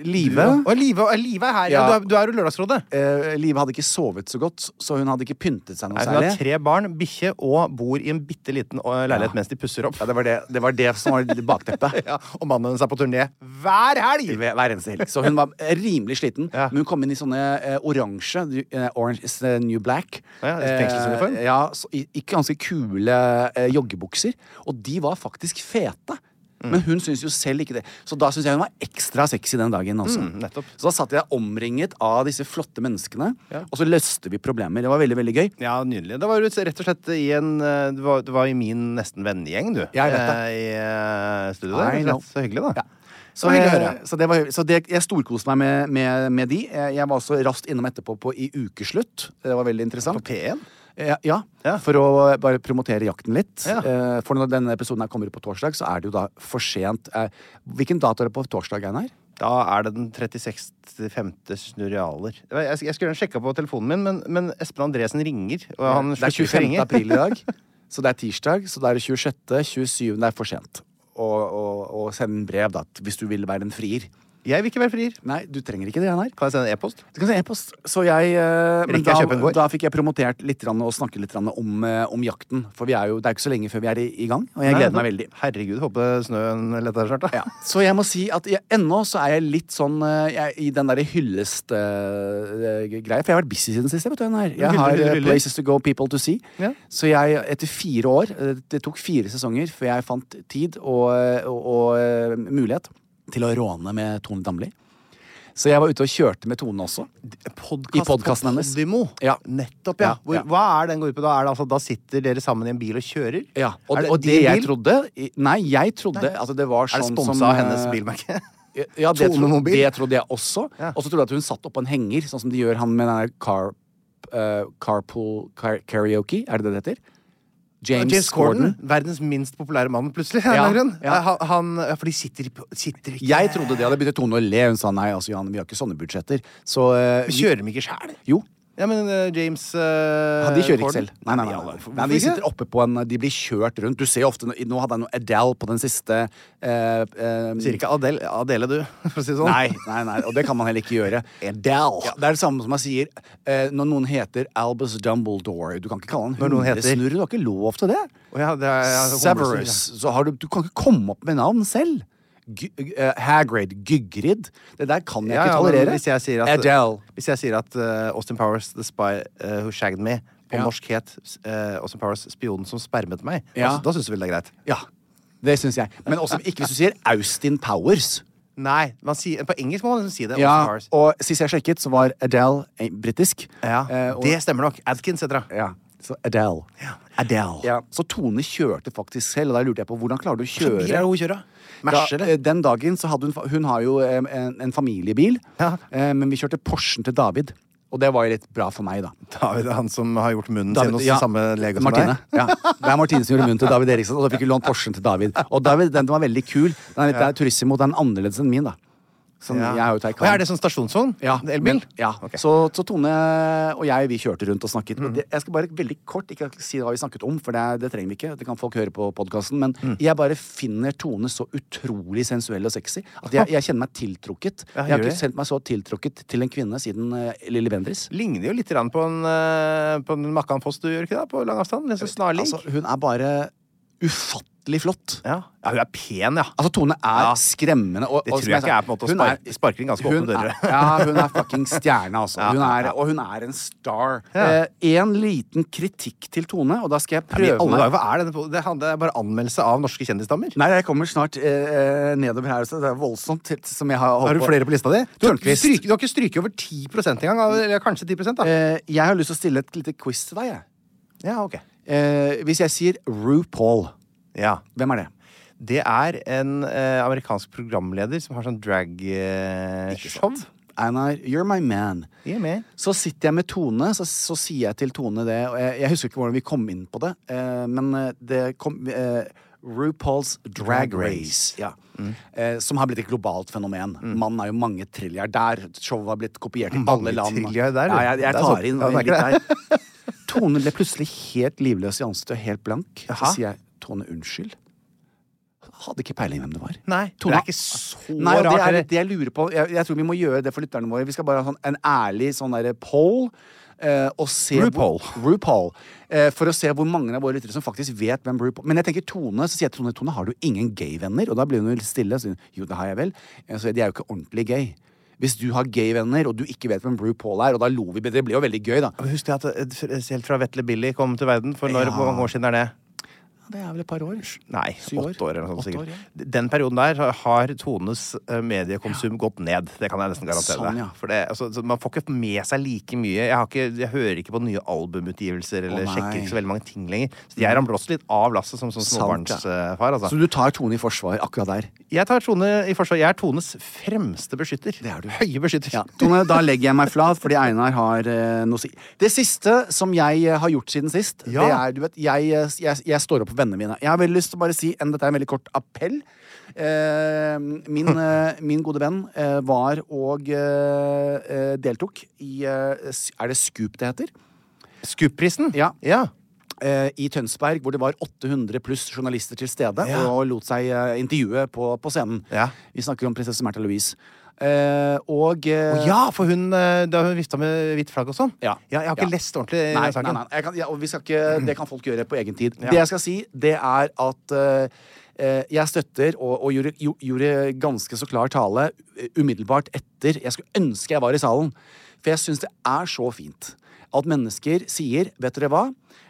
Live. Og Live, og Live er her. Ja. Ja. du er- Du er jo Lørdagsrådet. eh, Live hadde ikke sovet så godt, så hun hadde ikke pyntet seg noe Nei, Hun har særlig. tre barn, bikkje og bor i en bitte liten eh, leilighet mens de pusser opp. Ja, det var det, det var det som var det bakteppet. [laughs] Ja, og mannen hennes er på turné hver helg! Hver hver eneste helg. Så hun var eh, rimelig sliten. Ja. Men hun kom inn i sånne eh, oransje eh, Orange is the new black. Ja, fengselsuniform. Eh, ja, så, i, i ganske kule eh, joggebukser. Og de var faktisk fete. Men hun syns jo selv ikke det. Så da syns jeg hun var ekstra sexy den dagen. Også. nettopp. så da satt jeg omringet av disse flotte menneskene, og så løste vi problemer. Det var veldig, veldig gøy. Ja, nydelig. Det var jo rett og slett i en eh, Du var, du var i min nesten vennegjeng, du. Jeg vet det. Eh, I eh, studio I der. Rett know. og slett. Så hyggelig, da. Ja. Så, det var hyggelig å Eh, høre. så, det var, så det, jeg storkoste meg med, med, med de. Eh, Jeg jeg var også raskt innom etterpå på, i ukeslutt. Det var veldig På interessant. P1? Ja, Eh, ja, Ja. for å eh, bare promotere jakten litt. Ja. Eh, For når denne episoden her kommer ut på torsdag, så er det jo da for sent. Eh, Hvilken dato er det på torsdag, Einar? Da er det den 36.5. snurrialer. Jeg, jeg, jeg skulle gjerne sjekka på telefonen min, men, men Espen Andresen ringer. Og han det er slutter ikke å 25. ringe. april i dag, så det er tirsdag. Så det er det 26., 27. Det er for sent. Og, og, og send brev, da, hvis du vil være en frier. [laughs] Jeg vil ikke være frier. Nei, du trenger ikke det, Einar. Kan jeg sende en e-post? Du kan si e-post. Så jeg eh, Men Rekker jeg da, å kjøpe en gård? da fikk jeg promotert litt grann, og snakket litt grann om, eh, om jakten. For vi er jo, det er ikke så lenge før vi er i, i gang, og jeg Nei, gleder da- meg veldig. Herregud, håper snøen letter snart, da. Ja. Så jeg må si at jeg, ennå så er jeg litt sånn eh, jeg, i den derre hyllest-greia. for jeg har vært busy siden sist. Jeg, vet du, den her. jeg Hyller, har hyller, eh, hyller. Places to go, people to see. Ja. Så jeg, etter fire år eh, Det tok fire sesonger før jeg fant tid og, eh, og, og eh, mulighet til å råne med Tone Damli. Så jeg var ute og kjørte med Tone også. Podcast I podcasten på hennes. Podimo. Ja. Nettopp, ja. Ja, Hvor, ja. Hva er den går ut på da? Er det altså, da sitter dere sammen i en bil og kjører? Ja, og, Er det, og det din jeg bil? trodde Nei, jeg trodde at det var Er sånn det som sponsa av hennes eh, bilmerke? Ja, det, tro, Tonemobil. det trodde jeg også. Ja. Og så trodde jeg at hun satt oppå en henger, sånn som de gjør han med den der car, eh, carpool car, karaoke. Er det det det heter? James, Corden. Verdens minst populære mann, plutselig. [laughs] Ja, av en eller annen grunn. ja. Han, han, ja, for de sitter, på- sitter ikke Jeg trodde det hadde begynt Tone å le. Hun sa nei, altså, Johan, vi har ikke sånne budsjetter. Så eh, vi- Kjører de ikke sjæl? Jo. Ja, men eh, James uh, Ja, de kjører ikke selv. Nei, nei, nei, nei, nei. nei, De sitter oppe på en De blir kjørt rundt. Du ser jo ofte Nå hadde jeg noe Adele på den siste eh, eh, Sier ikke Adele, Adele, [laughs] du, for å si det sånn. Nei, nei, nei, og det kan man heller ikke gjøre. Ja, det er det samme som jeg sier eh, når noen heter Albus Dumbledore. Du kan ikke kalle han Når noen heter- hundesnurre. Du har ikke lov til det. Å, ja, det er- ja, humlesnurr, Severus. Så har du, du kan ikke komme opp med navn selv. Gy- eh, Hagrid. Gyggrid. Det der kan jeg Ja, ikke ja, men tolerere. Hvis jeg sier at, Adele. Hvis jeg sier at eh, Austin Powers, The Spy eh, Who Shagged Me, på Ja. norsk het eh, Austin Powers, Spionen som spermet meg, Ja. da, da syns du vel det er greit? Ja. Det syns jeg. Men også ikke hvis du sier Austin Powers. Nei, man sier, på engelsk må man liksom si det. Austin Ja, Powers. og sist jeg sjekket, så var Adele eh, britisk. ja, Eh, og- det stemmer nok. Adkins heter hun. Ja. Så Adele. Adele. Ja. Så Tone kjørte faktisk selv, og da lurte jeg på hvordan klarer du å Hvilken kjøre bil er det hun kjører? da, Merce, eh, eller? den dagen så hadde hun fa- Hun har jo eh, en, en familiebil, Ja. eh, men vi kjørte Porschen til David. Og det var jo litt bra for meg, da. David er han som har gjort munnen sin hos ja. samme lege som Martine. deg. Ja. Det er Martine som gjorde munnen til David Eriksen, og så fikk vi lånt Porschen til David. Og David, den var veldig kul. Den er litt ja. turissimo, den er annerledes enn min, da. Sånn, Ja. jeg er jo Og Taycan. er det sånn stasjonsvogn? Ja, Elbil? men- Ja. Ok. Mm. Så, så Tone og jeg vi kjørte rundt og snakket. Og det, jeg skal bare veldig kort ikke si hva vi snakket om, for det, er- det trenger vi ikke. Det kan folk høre på podkasten. Men Mm. jeg bare finner Tone så utrolig sensuell og sexy at jeg, jeg kjenner meg tiltrukket. Ja, jeg har gjør ikke kjent meg så tiltrukket til en kvinne siden eh, Lilly Bendriss. Ligner jo litt grann på en, eh, på en Makkan Foss, du gjør ikke det? På lang avstand? Litt sånn snarlik. Altså, hun er bare ufattelig flott. ja. ja, hun er pen, ja. Altså, Tone er Ja. skremmende. Og, Det og tror som jeg sa, ikke er på en måte å hun sparke- sparke inn ganske hun åpne dører. [laughs] Er, ja, hun er fucking stjerne, altså. Hun er, og hun er en star. Eh, en liten kritikk til Tone, og da skal jeg Men i prøve alle meg. dager, hva er det? på- Det, han- det er bare anmeldelse av norske kjendisstammer? Nei, jeg kommer snart eh, nedover her. Så det er voldsomt til- som jeg har Har du holdt på. flere på lista di? Du, har- Tørnquist. stryk- du har ikke stryket over 10 engang? av- Eller kanskje 10 da? Eh, jeg har lyst til å stille et lite quiz til deg. jeg. Ja, ok. Eh, hvis jeg sier RuPaul, Ja. hvem er det? Det er en eh, amerikansk programleder som har sånn eh, drag-show. Einar, you're my man. Yeah, man. Så sitter jeg med Tone, så, så sier jeg til Tone det og jeg, jeg husker ikke hvordan vi kom inn på det, eh, men eh, det kom eh, RuPaul's Drag Drag Race. Race. Mm. Ja. Eh, som har blitt et globalt fenomen. Mannen er jo mange trilliard der. Showet har blitt kopiert i alle land. trilliard der, ja, du. jeg, jeg Det er tar sånn- inn Ja, det er litt der. Tone ble plutselig helt livløs i ansiktet og helt blank. Jaha. Så sier jeg Tone, unnskyld. Hadde ikke peiling hvem det var. Nei, [laughs] det Tone, er ikke så Nei, og rart, Det eller? er det jeg lurer på. Jeg, jeg tror vi må gjøre det for lytterne våre. Vi skal bare ha sånn, en ærlig sånn derre poll. eh, og se RuPaul. Hvor, RuPaul. eh, for å se hvor mange av våre lyttere som faktisk vet hvem RuPaul Men jeg tenker Tone, så sier jeg til Tone Tone, har du ingen gay-venner? Og da blir hun jo litt stille. Så, sier hun, jo, det har jeg vel. Eh, Så de er jo ikke ordentlig gay. Hvis du har gay-venner, og du ikke vet hvem RuPaul er, og da lo vi bedre. Det blir jo veldig gøy, da. Men Husk det at eh, f- selv fra Vetle Billy kom til verden, for når, Ja. hvor mange år siden er det? Det er vel et par år. Nei, Syv år. åtte år eller noe sånt Åtte år, sikkert. Den perioden der har Tones eh, mediekonsum gått ned. Det kan jeg nesten garantere Sånn, deg. ja. For det, altså, så man får ikke med seg like mye. Jeg, har ikke, jeg hører ikke på nye albumutgivelser eller nei. sjekker ikke så veldig mange ting lenger. Så jeg har blåst litt av lasset som, som Sant, ja. småbarnsfar, altså. Så du tar Tone i forsvar akkurat der. Jeg tar Tone i forsvar. Jeg er Tones fremste beskytter. er du. Høye beskytter. Ja, Tone, da legger jeg meg flat, fordi Einar har eh, noe å si. Det siste som jeg eh, har gjort siden sist, det Ja. er du vet, jeg, eh, jeg, jeg står opp for vennene mine. Jeg har veldig lyst til å bare si en, dette er en veldig kort appell. Eh, [laughs] min, eh, min gode venn eh, var og eh, eh, deltok i eh, s- Er det Scoop det heter? Skup-prisen. Ja. ja. eh, i Tønsberg, hvor det var 800 pluss journalister til stede, Ja. og lot seg eh, intervjue på, på scenen. Ja. Vi snakker om prinsesse Märtha Louise. Eh, og eh, Å ja, for hun eh, da hun vifta med hvitt flagg og sånn. Ja. Jeg har ikke Ja. lest ordentlig Nei, den nei, saken. nei. Jeg kan, ja, og vi skal ikke, det kan folk gjøre på egen tid. Det jeg skal si, det er at eh, eh, jeg støtter og, og gjorde, gjo- gjorde ganske så klar tale eh, umiddelbart etter. Jeg skulle ønske jeg var i salen, for jeg syns det er så fint at mennesker sier Vet dere hva?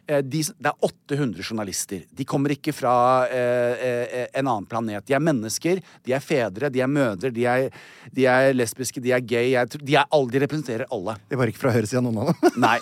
Eh, De, s- det er 800 journalister. De kommer ikke fra eh, eh, en annen planet. De er mennesker, de er fedre, de er mødre, de er, de er lesbiske, de er gay. Jeg tror- De, er, alle- de representerer alle. Det var ikke fra høyresida noen av dem. Nei.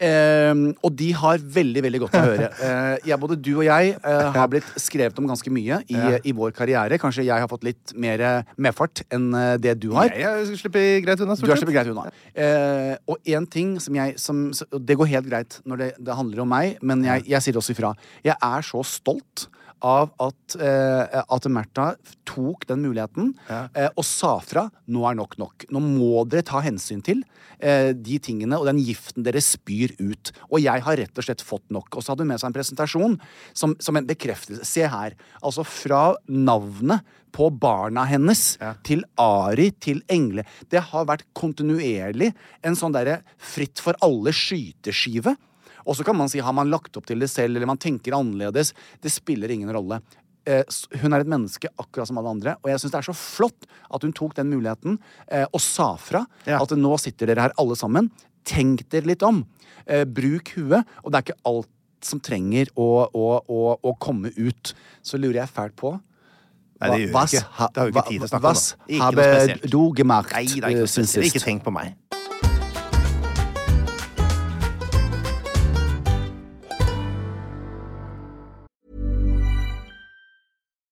Ehm, og de har veldig veldig godt å høre. Eh, jeg, både du og jeg eh, har blitt skrevet om ganske mye i, i vår karriere. Kanskje jeg har fått litt mer eh, medfart enn eh, det du har. Jeg, jeg slipper greit unna. stort Du har sett. sluppet greit unna. Eh, og én ting som jeg som, så- og Det går helt greit når det, det handler om meg, men jeg, jeg sier også ifra. Jeg er så stolt av at, eh, at Märtha tok den muligheten eh, og sa fra. Nå er nok nok. Nå må dere ta hensyn til eh, de tingene og den giften dere spyr ut. Og jeg har rett og slett fått nok. Og så hadde hun med seg en presentasjon som, som en bekreftelse. Se her. Altså fra navnet på barna hennes til Ari til Engle. Det har vært kontinuerlig en sånn derre fritt for alle skyteskive. Og så kan man si har man lagt opp til det selv, eller man tenker annerledes. Det spiller ingen rolle. Eh, s- Hun er et menneske akkurat som alle andre, og jeg syns det er så flott at hun tok den muligheten eh, og sa fra Ja. at nå sitter dere her alle sammen. Tenk dere litt om. Eh, bruk huet. Og det er ikke alt som trenger å, å, å, å komme ut. Så lurer jeg fælt på Nei, det gjør Was vi ikke. ha- Det har vi ikke tid til å snakke om, was da. Ikke noe habe spesielt. du gemacht Nei, det er eh, ikke noe siden spesielt. sist? Ikke tenk på meg.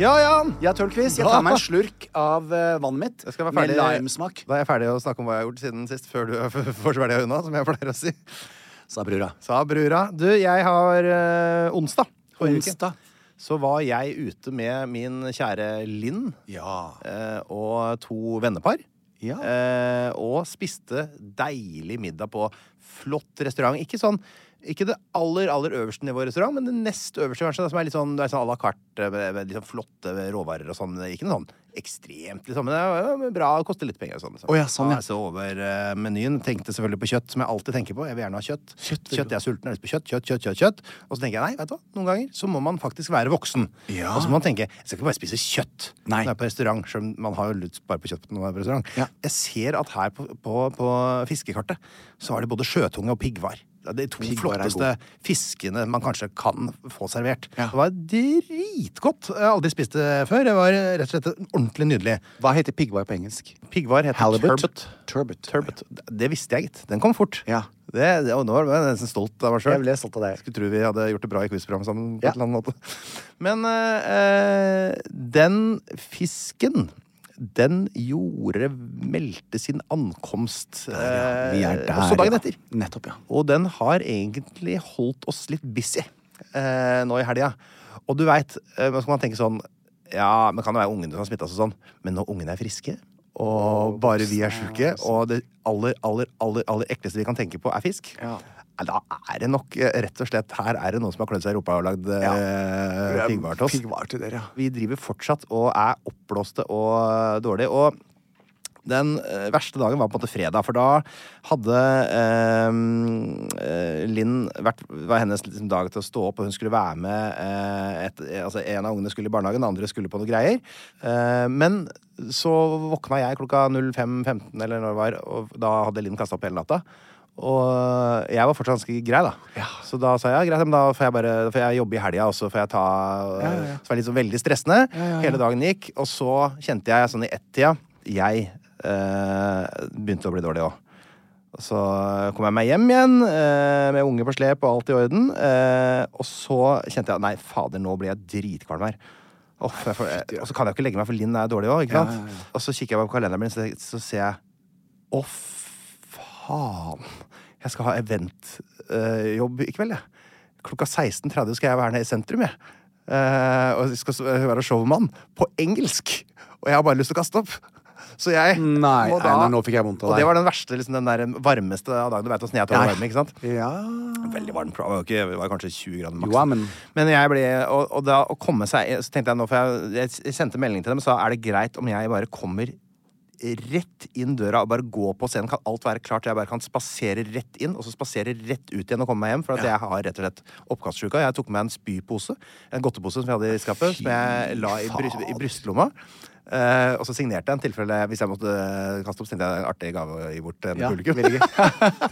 Ja, ja. Jeg tør quiz. Jeg tar meg [laughs] en slurk av eh, vannet mitt Jeg skal være med ferdig. limesmak. Da er jeg ferdig å snakke om hva jeg har gjort siden sist, før du får svelga unna, som jeg pleier å si. Sa brura. Sa brura. Du, jeg har eh, onsdag. Forrige uke. Onsdag. Så var jeg ute med min kjære Linn Ja. eh, og to vennepar. Ja. Eh, og spiste deilig middag på flott restaurant. Ikke sånn ikke det aller aller øverste nivået restaurant, men det nest øverste, kanskje. da, Som er litt sånn, det er sånn à la carte med, med litt sånn flotte råvarer og sånn. Ikke noe sånn ekstremt, liksom. Men det er jo bra, koster litt penger og sånn. Liksom. Å ja, sånn, ja. så over eh, menyen. Tenkte selvfølgelig på kjøtt, som jeg alltid tenker på. Jeg vil gjerne ha kjøtt. Kjøtt, jeg er sulten, jeg har lyst på kjøtt, kjøtt, kjøtt, kjøtt, kjøtt. Og så tenker jeg nei, vet du hva, noen ganger så må man faktisk være voksen. Ja. Og så må man tenke jeg skal ikke bare spise kjøtt Nei. når jeg er på restaurant. Selv om man har jo lyst bare på kjøtt når man er på restaurant. Ja. Jeg ser at her på, på, på fiskekartet så har de både sjøtunge og piggvar. Det er De to Piggvar er flotteste fiskene man kanskje kan få servert. Ja. Det var dritgodt. Jeg har aldri spist det før. Det var rett og slett ordentlig nydelig. Hva heter piggvar på engelsk? Piggvar heter Halibut. turbot. Turbot. turbot. Det visste jeg, gitt. Den kom fort. Ja. Det, det, og nå var jeg nesten stolt av meg sjøl. Jeg ble stolt av deg. Skulle tro vi hadde gjort det bra i quizprogrammet sammen. på Ja. et eller annet måte. Men eh, eh, den fisken den gjorde meldte sin ankomst eh, Vi er der. også dagen ja. etter. Nettopp, ja. Og den har egentlig holdt oss litt busy eh, nå i helga. Og du veit, eh, så kan man tenke sånn Ja, men kan det være ungene som har smitta seg sånn? Men når ungene er friske, og bare vi er sjuke, og det aller, aller, aller, aller ekleste vi kan tenke på, er fisk Ja. ja, Da er det nok eh, rett og slett Her er det noen som har klødd seg i rumpa og lagd Ja. eh, piggvar til oss. Piggvar til dere, ja. Vi driver fortsatt og er oppblåste og eh, dårlige. Og den eh, verste dagen var på en måte fredag, for da hadde eh, eh, Linn vært var hennes liksom, dag til å stå opp, og hun skulle være med eh, et, eh, altså En av ungene skulle i barnehagen, den andre skulle på noe greier. Eh, men så våkna jeg klokka 05.15, eller når det var, og da hadde Linn kasta opp hele natta. Og jeg var fortsatt ganske grei, da. Så da sa jeg ja, greit, men da får jeg, bare, da får jeg jobbe i helga, og så får jeg ta Så var det liksom veldig stressende. Hele dagen gikk, og så kjente jeg sånn i ett-tida Jeg eh, begynte å bli dårlig òg. Og så kom jeg meg hjem igjen eh, med unge på slep og alt i orden. Eh, og så kjente jeg nei, fader, nå blir jeg dritkvalm her. Åh, for jeg får, eh, og så kan jeg jo ikke legge meg, for Linn er dårlig òg. ikke sant? Og så kikker jeg bare på kalenderen min, så, så ser jeg Å, faen! Jeg skal ha eventjobb i kveld, jeg. Klokka 16.30 skal jeg være nede i sentrum, jeg. Eh, og jeg skal s- være showmann. På engelsk! Og jeg har bare lyst til å kaste opp. Så jeg Nei, må da Einar, nå fikk jeg vondt av Og deg. det var den verste, liksom, den der varmeste av dagen. Du veit åssen jeg tåler varme, ikke sant? Ja. Veldig varm. Det var, jo ikke, det var kanskje 20 grader maks. Jo, ja, men- jeg ble Og, og da å komme seg Så tenkte jeg nå, for jeg, jeg sendte melding til dem og sa er det greit om jeg bare kommer rett inn døra og bare gå på scenen. Kan alt være klart? Jeg bare kan spasere rett inn, og så spasere rett ut igjen og komme meg hjem. For at jeg har rett og slett oppkastsjuka. Jeg tok med en spypose, en godtepose som jeg hadde i skapet, som jeg la i, bry i brystlomma. Eh, og så signerte jeg en tilfelle hvis jeg måtte eh, kaste opp. Så tenkte jeg en artig gave å gi bort til en Ja, publikum. veldig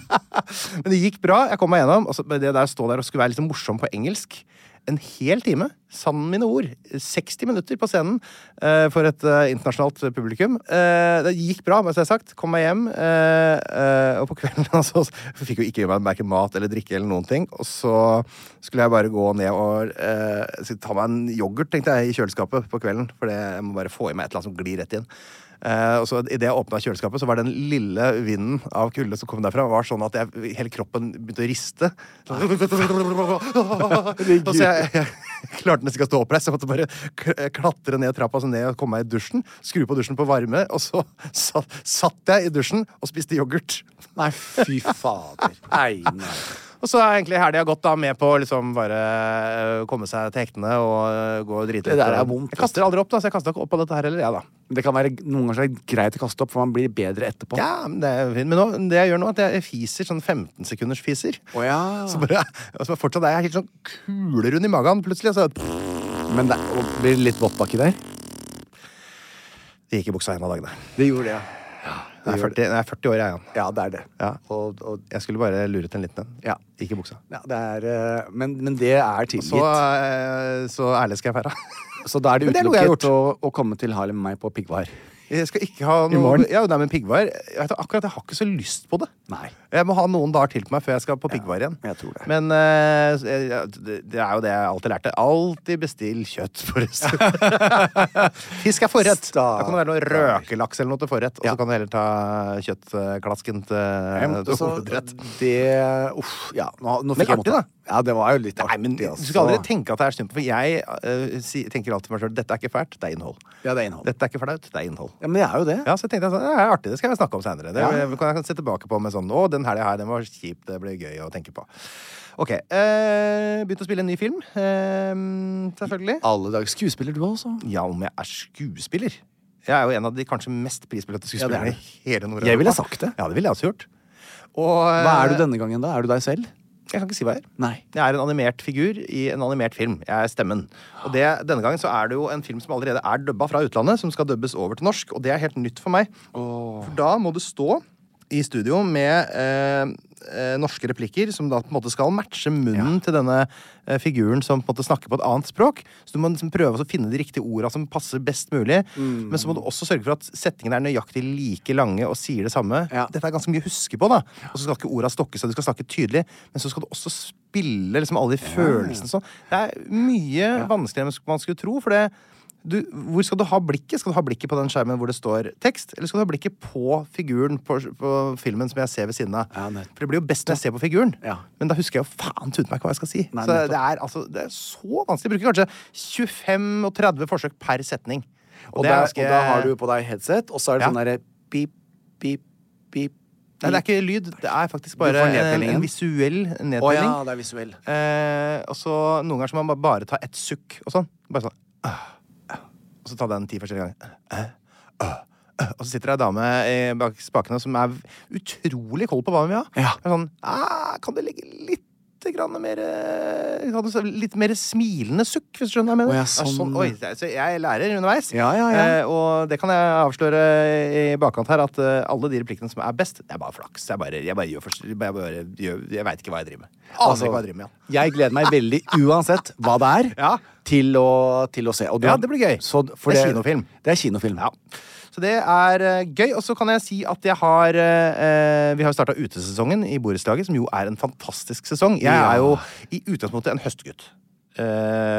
Men det gikk bra. Jeg kom meg gjennom. Og så det der å stå der og skulle være litt morsom på engelsk en hel time, sann mine ord, 60 minutter på scenen eh, for et eh, internasjonalt publikum. Eh, det gikk bra, men som jeg har sagt. Kom meg hjem. eh, eh, og på kvelden [laughs] altså, så fikk jo ikke gi meg verken mat eller drikke eller noen ting. Og så skulle jeg bare gå ned og eh, så ta meg en yoghurt, tenkte jeg, i kjøleskapet på kvelden. For det, jeg må bare få i meg et eller annet som glir rett inn. Eh, og så Idet jeg åpna kjøleskapet, så var den lille vinden av kulde som kom derfra, var sånn at jeg, hele kroppen begynte å riste. [laughs] og så jeg, jeg klarte nesten ikke å stå oppreist, så jeg måtte bare k- klatre ned trappa så ned og komme meg i dusjen. Skru på dusjen på varme, og så satt, satt jeg i dusjen og spiste yoghurt. Nei, fy [laughs] fader. Einar. Og så er egentlig helga gått da med på å liksom bare eh, komme seg til hektene og eh, gå og drite Det der er og- vondt, Jeg kaster aldri opp, da, så jeg kasta ikke opp på dette her heller, jeg, da. Det kan være noen ganger så er det greit å kaste opp, for man blir bedre etterpå. Ja, men det er fint. Men nå, det jeg gjør nå, er at jeg fiser sånn 15 sekunders fiser. Å, ja. Så bare, og så fortsatt er jeg helt sånn kulerund i magen plutselig. og Så Men det og blir det litt vått baki der. det gikk i buksa en av dagene. Det gjorde det, Jeg er 40, jeg er 40 år, jeg igjen. ja. det er det. Ja. Og, og, Jeg skulle bare luret en liten en. Ja. Gikk i buksa. ja, det er, eh, men, men det er tilgitt. Så, eh, så ærlig skal jeg være. Så da er det Men det er noe jeg har utelukket å, å komme til Harlem med meg på piggvar. Jeg skal ikke ha noe morgen? Ja, nei, men piggvar jeg, vet akkurat, jeg har ikke så lyst på det. Nei. Jeg må ha noen dager til på meg før jeg skal på piggvar igjen. jeg tror det. Men eh, så jeg- jeg- det det er jo det jeg alltid lærte. Alltid bestill kjøtt, [laughs] [laughs] forresten. Fisk er forrett. Da kan det være noe røkelaks eller noe til forrett. Og så Ja. kan du heller ta kjøttklasken til, til Så hovedrett. Det Uff, ja. Nå, nå Men fikk jeg artig, vondt av- da. Ja, det var jo litt artig. Nei, men Du altså. skal aldri tenke at det er synd på For jeg eh, si, tenker alltid meg sjøl dette er ikke fælt, det er innhold. Ja, det er innhold. Dette er ikke flaut, det er innhold. Ja, men det er jo det. Ja, så tenkte jeg sånn, det er artig, det skal jeg snakke om senere. Det Ja. kan jeg se tilbake på med sånn, å, den helgen her, den var kjip, det ble gøy å tenke på. Ok, eh, begynte å spille en ny film, eh, selvfølgelig. Alle dager. Skuespiller du også? Ja, om jeg er skuespiller. Jeg er jo en av de kanskje mest prisbelønte Ja, det skuespillerne er det. i hele Nord-Europa. Jeg ville sagt det. Ja, det ville jeg også gjort. Og, Hva er du denne gangen, da? Er du deg selv? Jeg kan ikke si hva jeg er. Nei. Jeg er en animert figur i en animert film. Jeg er stemmen. Og det, denne gangen så er det jo en film som allerede er dubba fra utlandet, som skal dubbes over til norsk, og det er helt nytt for meg. For da må du stå i studio med eh, eh, norske replikker som da på en måte skal matche munnen til denne eh, figuren som på en måte snakker på et annet språk. Så du må liksom prøve å finne de riktige orda som passer best mulig. Men så må du også sørge for at setningene er nøyaktig like lange og sier det samme. Ja. Dette er ganske mye å huske på, da. Og så skal ikke orda stokke seg, du skal snakke tydelig. Men så skal du også spille liksom alle de følelsene sånn. Det er mye vanskeligere enn man skulle tro, for det du, hvor skal du ha blikket? Skal du ha blikket på den skjermen hvor det står tekst, eller skal du ha blikket på figuren på, på filmen som jeg ser ved siden av? Ja, nettopp. For det blir jo best når jeg ser på figuren, Ja. men da husker jeg jo faen tuten meg ikke hva jeg skal si. Nei, så nettopp. det er, altså, det er så vanskelig. Jeg bruker kanskje 25 og 30 forsøk per setning. Og, det er der, ganske- og da har du på deg headset, og så er det Ja. sånn derre pip, pip, pip, pip. Nei, det er ikke lyd. Det er faktisk får bare en, nedtellingen. en visuell nedtelling. Å ja, det er visuell. Eh, og så noen ganger så må man bare ta ett sukk og sånn. Bare sånn. ah, ah. Og så ta den ti forskjellige ganger. Ah, ah, ah. Og så sitter det ei dame eh, bak spakene som er utrolig kold på hva hun vil ha. Ja. Det er Sånn, ah, kan du legge litt grann mer, eh, kan du se- litt mer smilende sukk, hvis du skjønner hva jeg mener? Å ja, Det er sånn. oi, det er- så jeg lærer underveis. Ja, ja, ja. Eh, og det kan jeg avsløre i bakkant her, at eh, alle de replikkene som er best, det er bare flaks. Jeg bare, jeg bare gjør først. Jeg, bare gjør, jeg veit ikke hva jeg driver med. Aner Altså, ikke hva jeg driver med. Jan. Jeg gleder meg veldig, uansett hva det er, Ja. til, å, til å se. Og du Ja, har- det blir gøy. Så, for Det er kinofilm. Det er kinofilm. Så det er eh, gøy. Og så kan jeg si at jeg har eh, eh, Vi har jo starta utesesongen i borettslaget, som jo er en fantastisk sesong. Jeg Ja. er jo i utgangspunktet en høstgutt. Eh,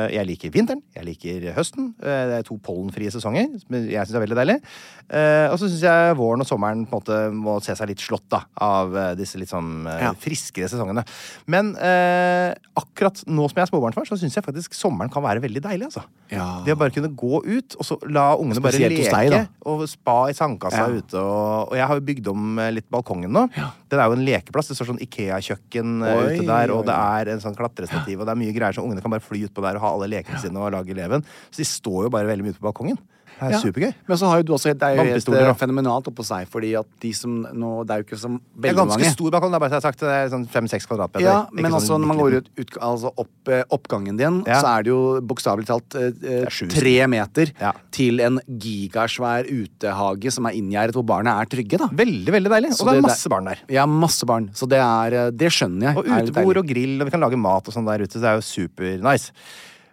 jeg liker vinteren, jeg liker høsten. Eh, det er to pollenfrie sesonger, som jeg syns er veldig deilig. Eh, og så syns jeg våren og sommeren på en måte må se seg litt slått da, av eh, disse litt sånn eh, Ja. friskere sesongene. Men eh, akkurat nå som jeg er småbarnsfar, så syns jeg faktisk sommeren kan være veldig deilig. altså. Ja. Det å bare kunne gå ut, og så la ungene bare Spesielt leke. hos deg, da. Og spa i sandkassa Ja. ute. Og, og jeg har jo bygd om eh, litt balkongen nå. Den er jo en lekeplass. Det står sånn Ikea-kjøkken eh, Oi, ute der, og oi, det oi. er en sånn klatrestativ, og det er mye greier som ungene kan bare fly utpå der og ha alle lekene sine og lage leven. Så de står jo bare veldig mye ute på balkongen. Det er Ja. supergøy. Men så har jo du også Det er jo helt Vannpistoler, eh, da. fenomenalt oppå seg, fordi at de som nå Det er jo ikke som Det er veldig ganske mange. stor balkong. Det er bare så jeg har sagt, det er sånn fem-seks kvadratmeter. Ja, Ikke men sånn altså når man går bitte ut, ut altså opp, eh, oppgangen din, Ja. så er det jo bokstavelig talt eh, eh, sju tre meter Ja. til en gigasvær utehage som er inngjerdet, hvor barna er trygge, da. Veldig, veldig deilig. Så Og det det- er det- masse barn der. Ja, masse barn. Så det er eh, Det skjønner jeg. Og utebord og grill, og vi kan lage mat og sånn der ute. Så det er jo super-nice.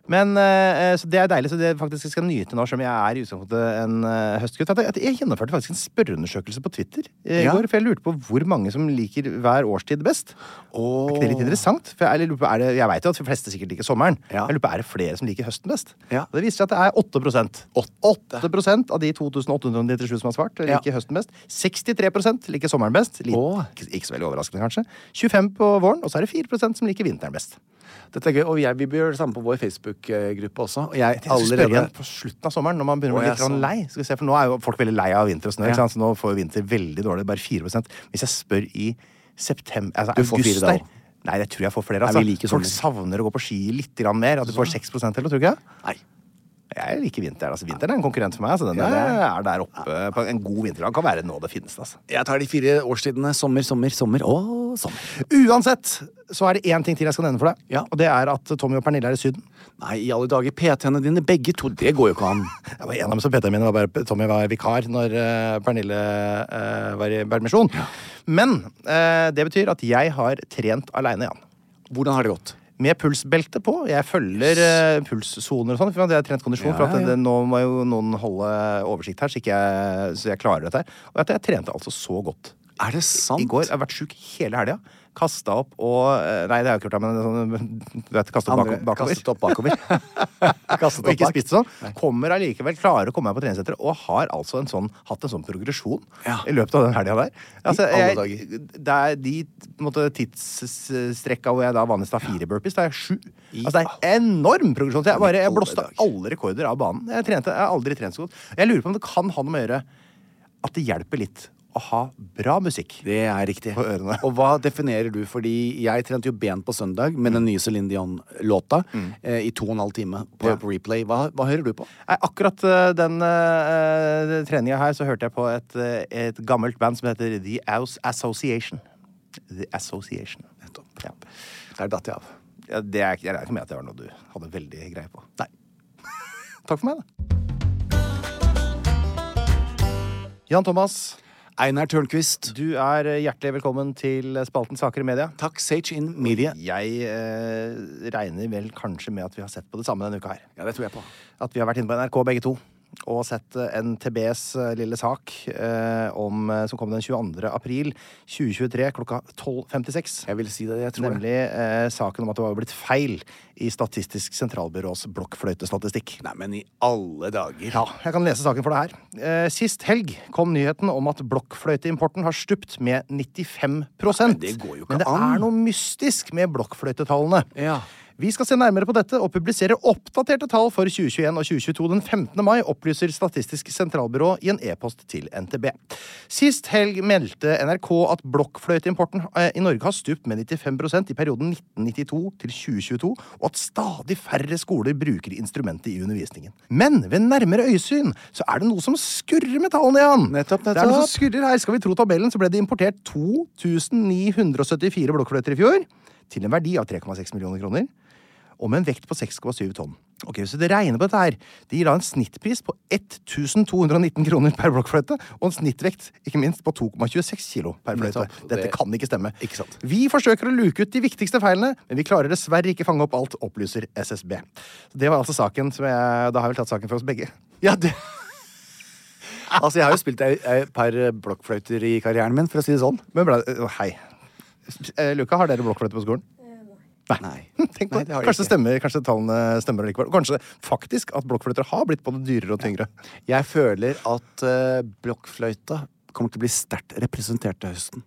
Men, eh, så Det er deilig, så det faktisk jeg skal nyte nå, selv om jeg er i utgangspunktet en eh, høstgutt. At jeg- at Jeg gjennomførte faktisk en spørreundersøkelse på Twitter eh, i Ja. går. For jeg lurte på hvor mange som liker hver årstid best. Er ikke det litt interessant? For Jeg, eller lurer på, er det, jeg vet jo at de fleste sikkert liker sommeren. Ja. Jeg lurer på, Er det flere som liker høsten best? Ja. Og Det viser seg at det er 8 8, av de 2897 som har svart, Ja. liker høsten best. 63 liker sommeren best. Litt, Åh. ikke, ikke så veldig overraskende, kanskje. 25 på våren, og så er det 4 som liker vinteren best. Dette er gøy. Og jeg, vi bør gjøre det samme på vår Facebook-gruppe også. Og jeg Jeg skal spørre allerede igjen på slutten av sommeren, når man begynner å Åh, bli ja, litt grann sånn. lei. Skal vi se, for Nå er jo folk veldig lei av vinter og snø, Ja. ikke sant? så nå får jo vinter veldig dårlig. Bare 4 Hvis jeg spør i september altså Du får august fire da der- også. Nei, jeg tror jeg får flere. Altså. Nei, vi liker folk sommer. savner å gå på ski litt grann mer. At du får 6 eller, tror du ikke det? Nei. Jeg liker vinteren. altså Vinteren er en konkurrent for meg. altså Den er, er der oppe. På en god vinterdag kan være noe av det fineste. altså Jeg tar de fire årstidene sommer, sommer, sommer og sommer. Uansett så er det én ting til jeg skal nevne for deg. Ja. Og det er at Tommy og Pernille er i Syden. Nei, i alle dager. PT-ene dine, begge to. Det går jo ikke an. Jeg [laughs] var en av dem som PT-en min var bare Tommy var vikar når eh, Pernille eh, var i permisjon. Men eh, det betyr at jeg har trent aleine, Jan. Hvordan har det gått? Med pulsbelte på. Jeg følger eh, pulssoner og sånn. For jeg har trent kondisjon. Ja, for at ja. det, nå må jo noen holde oversikt her, så, ikke jeg, så jeg klarer dette her. Og at jeg trente altså så godt. Er det sant? I går. Jeg har vært sjuk hele helga. Kasta opp og eh, Nei, det har jeg ikke gjort, da, men sånn, du vet, kastet opp Andre bako- bakover. kastet opp [laughs] bakover. Kastet og opp ikke bak. spist sånn. Kommer allikevel, klarer å komme meg på treningssenteret og har altså en sånn, hatt en sånn progresjon Ja. i løpet av den helga der. Altså, alle jeg, det er de på en måte, tidsstrekka hvor jeg da vanligvis tar fire burpees, tar jeg sju. Altså, det er enorm progresjon. Så jeg, bare, jeg blåste alle rekorder av banen. Jeg, trente, jeg har aldri trent så godt. Jeg lurer på om det kan ha noe med å gjøre at det hjelper litt å ha bra musikk. Det er riktig. På ørene. Og hva definerer du? Fordi jeg trente jo ben på søndag med den nye Céline Dion-låta eh, i to og en halv time på, på replay. Hva, hva hører du på? Nei, akkurat eh, den uh, treninga her så hørte jeg på et, eh, et gammelt band som heter The Aus Association. The Association. Ja. Der datt jeg av. Ja, det er ikke jeg regner ikke med at det var noe du hadde veldig greie på. Nei. [laughs] Takk for meg, da. Jan Thomas, Einar Tørnquist. du er eh, hjertelig velkommen til spalten Saker i media. Takk, Sage in Media. Jeg eh, regner vel kanskje med at vi har sett på det samme denne uka her. Ja, det tror jeg på. at vi har vært inne på NRK begge to og sett eh, NTBs eh, lille sak eh, om, eh, som kom den 22. april 2023 klokka 12.56. Jeg vil si det. Jeg tror det. Nemlig eh, saken om at det var blitt feil i Statistisk sentralbyrås blokkfløytestatistikk. Nei, men i alle dager. Ja, jeg kan lese saken for deg her. Eh, sist helg kom nyheten om at blokkfløyteimporten har stupt med 95 Nei, det går jo ikke Men det an. er noe mystisk med blokkfløytetallene. Ja. Vi skal se nærmere på dette og publisere oppdaterte tall for 2021 og 2022 den 15. mai, opplyser Statistisk sentralbyrå i en e-post til NTB. Sist helg meldte NRK at blokkfløyteimporten eh, i Norge har stupt med 95 i perioden 1992 til 2022, og at stadig færre skoler bruker instrumentet i undervisningen. Men ved nærmere øyesyn så er det noe som skurrer med tallene, Jan! Nettopp, Det er noe nettopp. som skurrer her. Skal vi tro tabellen, så ble det importert 2974 blokkfløyter i fjor, til en verdi av 3,6 millioner kroner og med en vekt på 6,7 tonn. Ok, Hvis du regner på dette her, det gir da en snittpris på 1219 kroner per blokkfløyte, og en snittvekt ikke minst på 2,26 kilo per fløyte. Nettopp. Dette Det- kan ikke stemme. Ikke sant. Vi forsøker å luke ut de viktigste feilene, men vi klarer dessverre ikke fange opp alt, opplyser SSB. Så det var altså saken som jeg Da har jeg vel tatt saken for oss begge. Ja, det [laughs] Altså, jeg har jo spilt ei- et par eh, blokkfløyter i karrieren min, for å si det sånn. Men ble, øh, hei. Eh, Luka, har dere blokkfløyte på skolen? Nei. Tenk på Nei, det. det har de Kanskje ikke. det stemmer, kanskje tallene stemmer likevel. Kanskje faktisk at blokkfløyter har blitt både dyrere og tyngre. Jeg føler at eh, blokkfløyta kommer til å bli sterkt representert til høsten.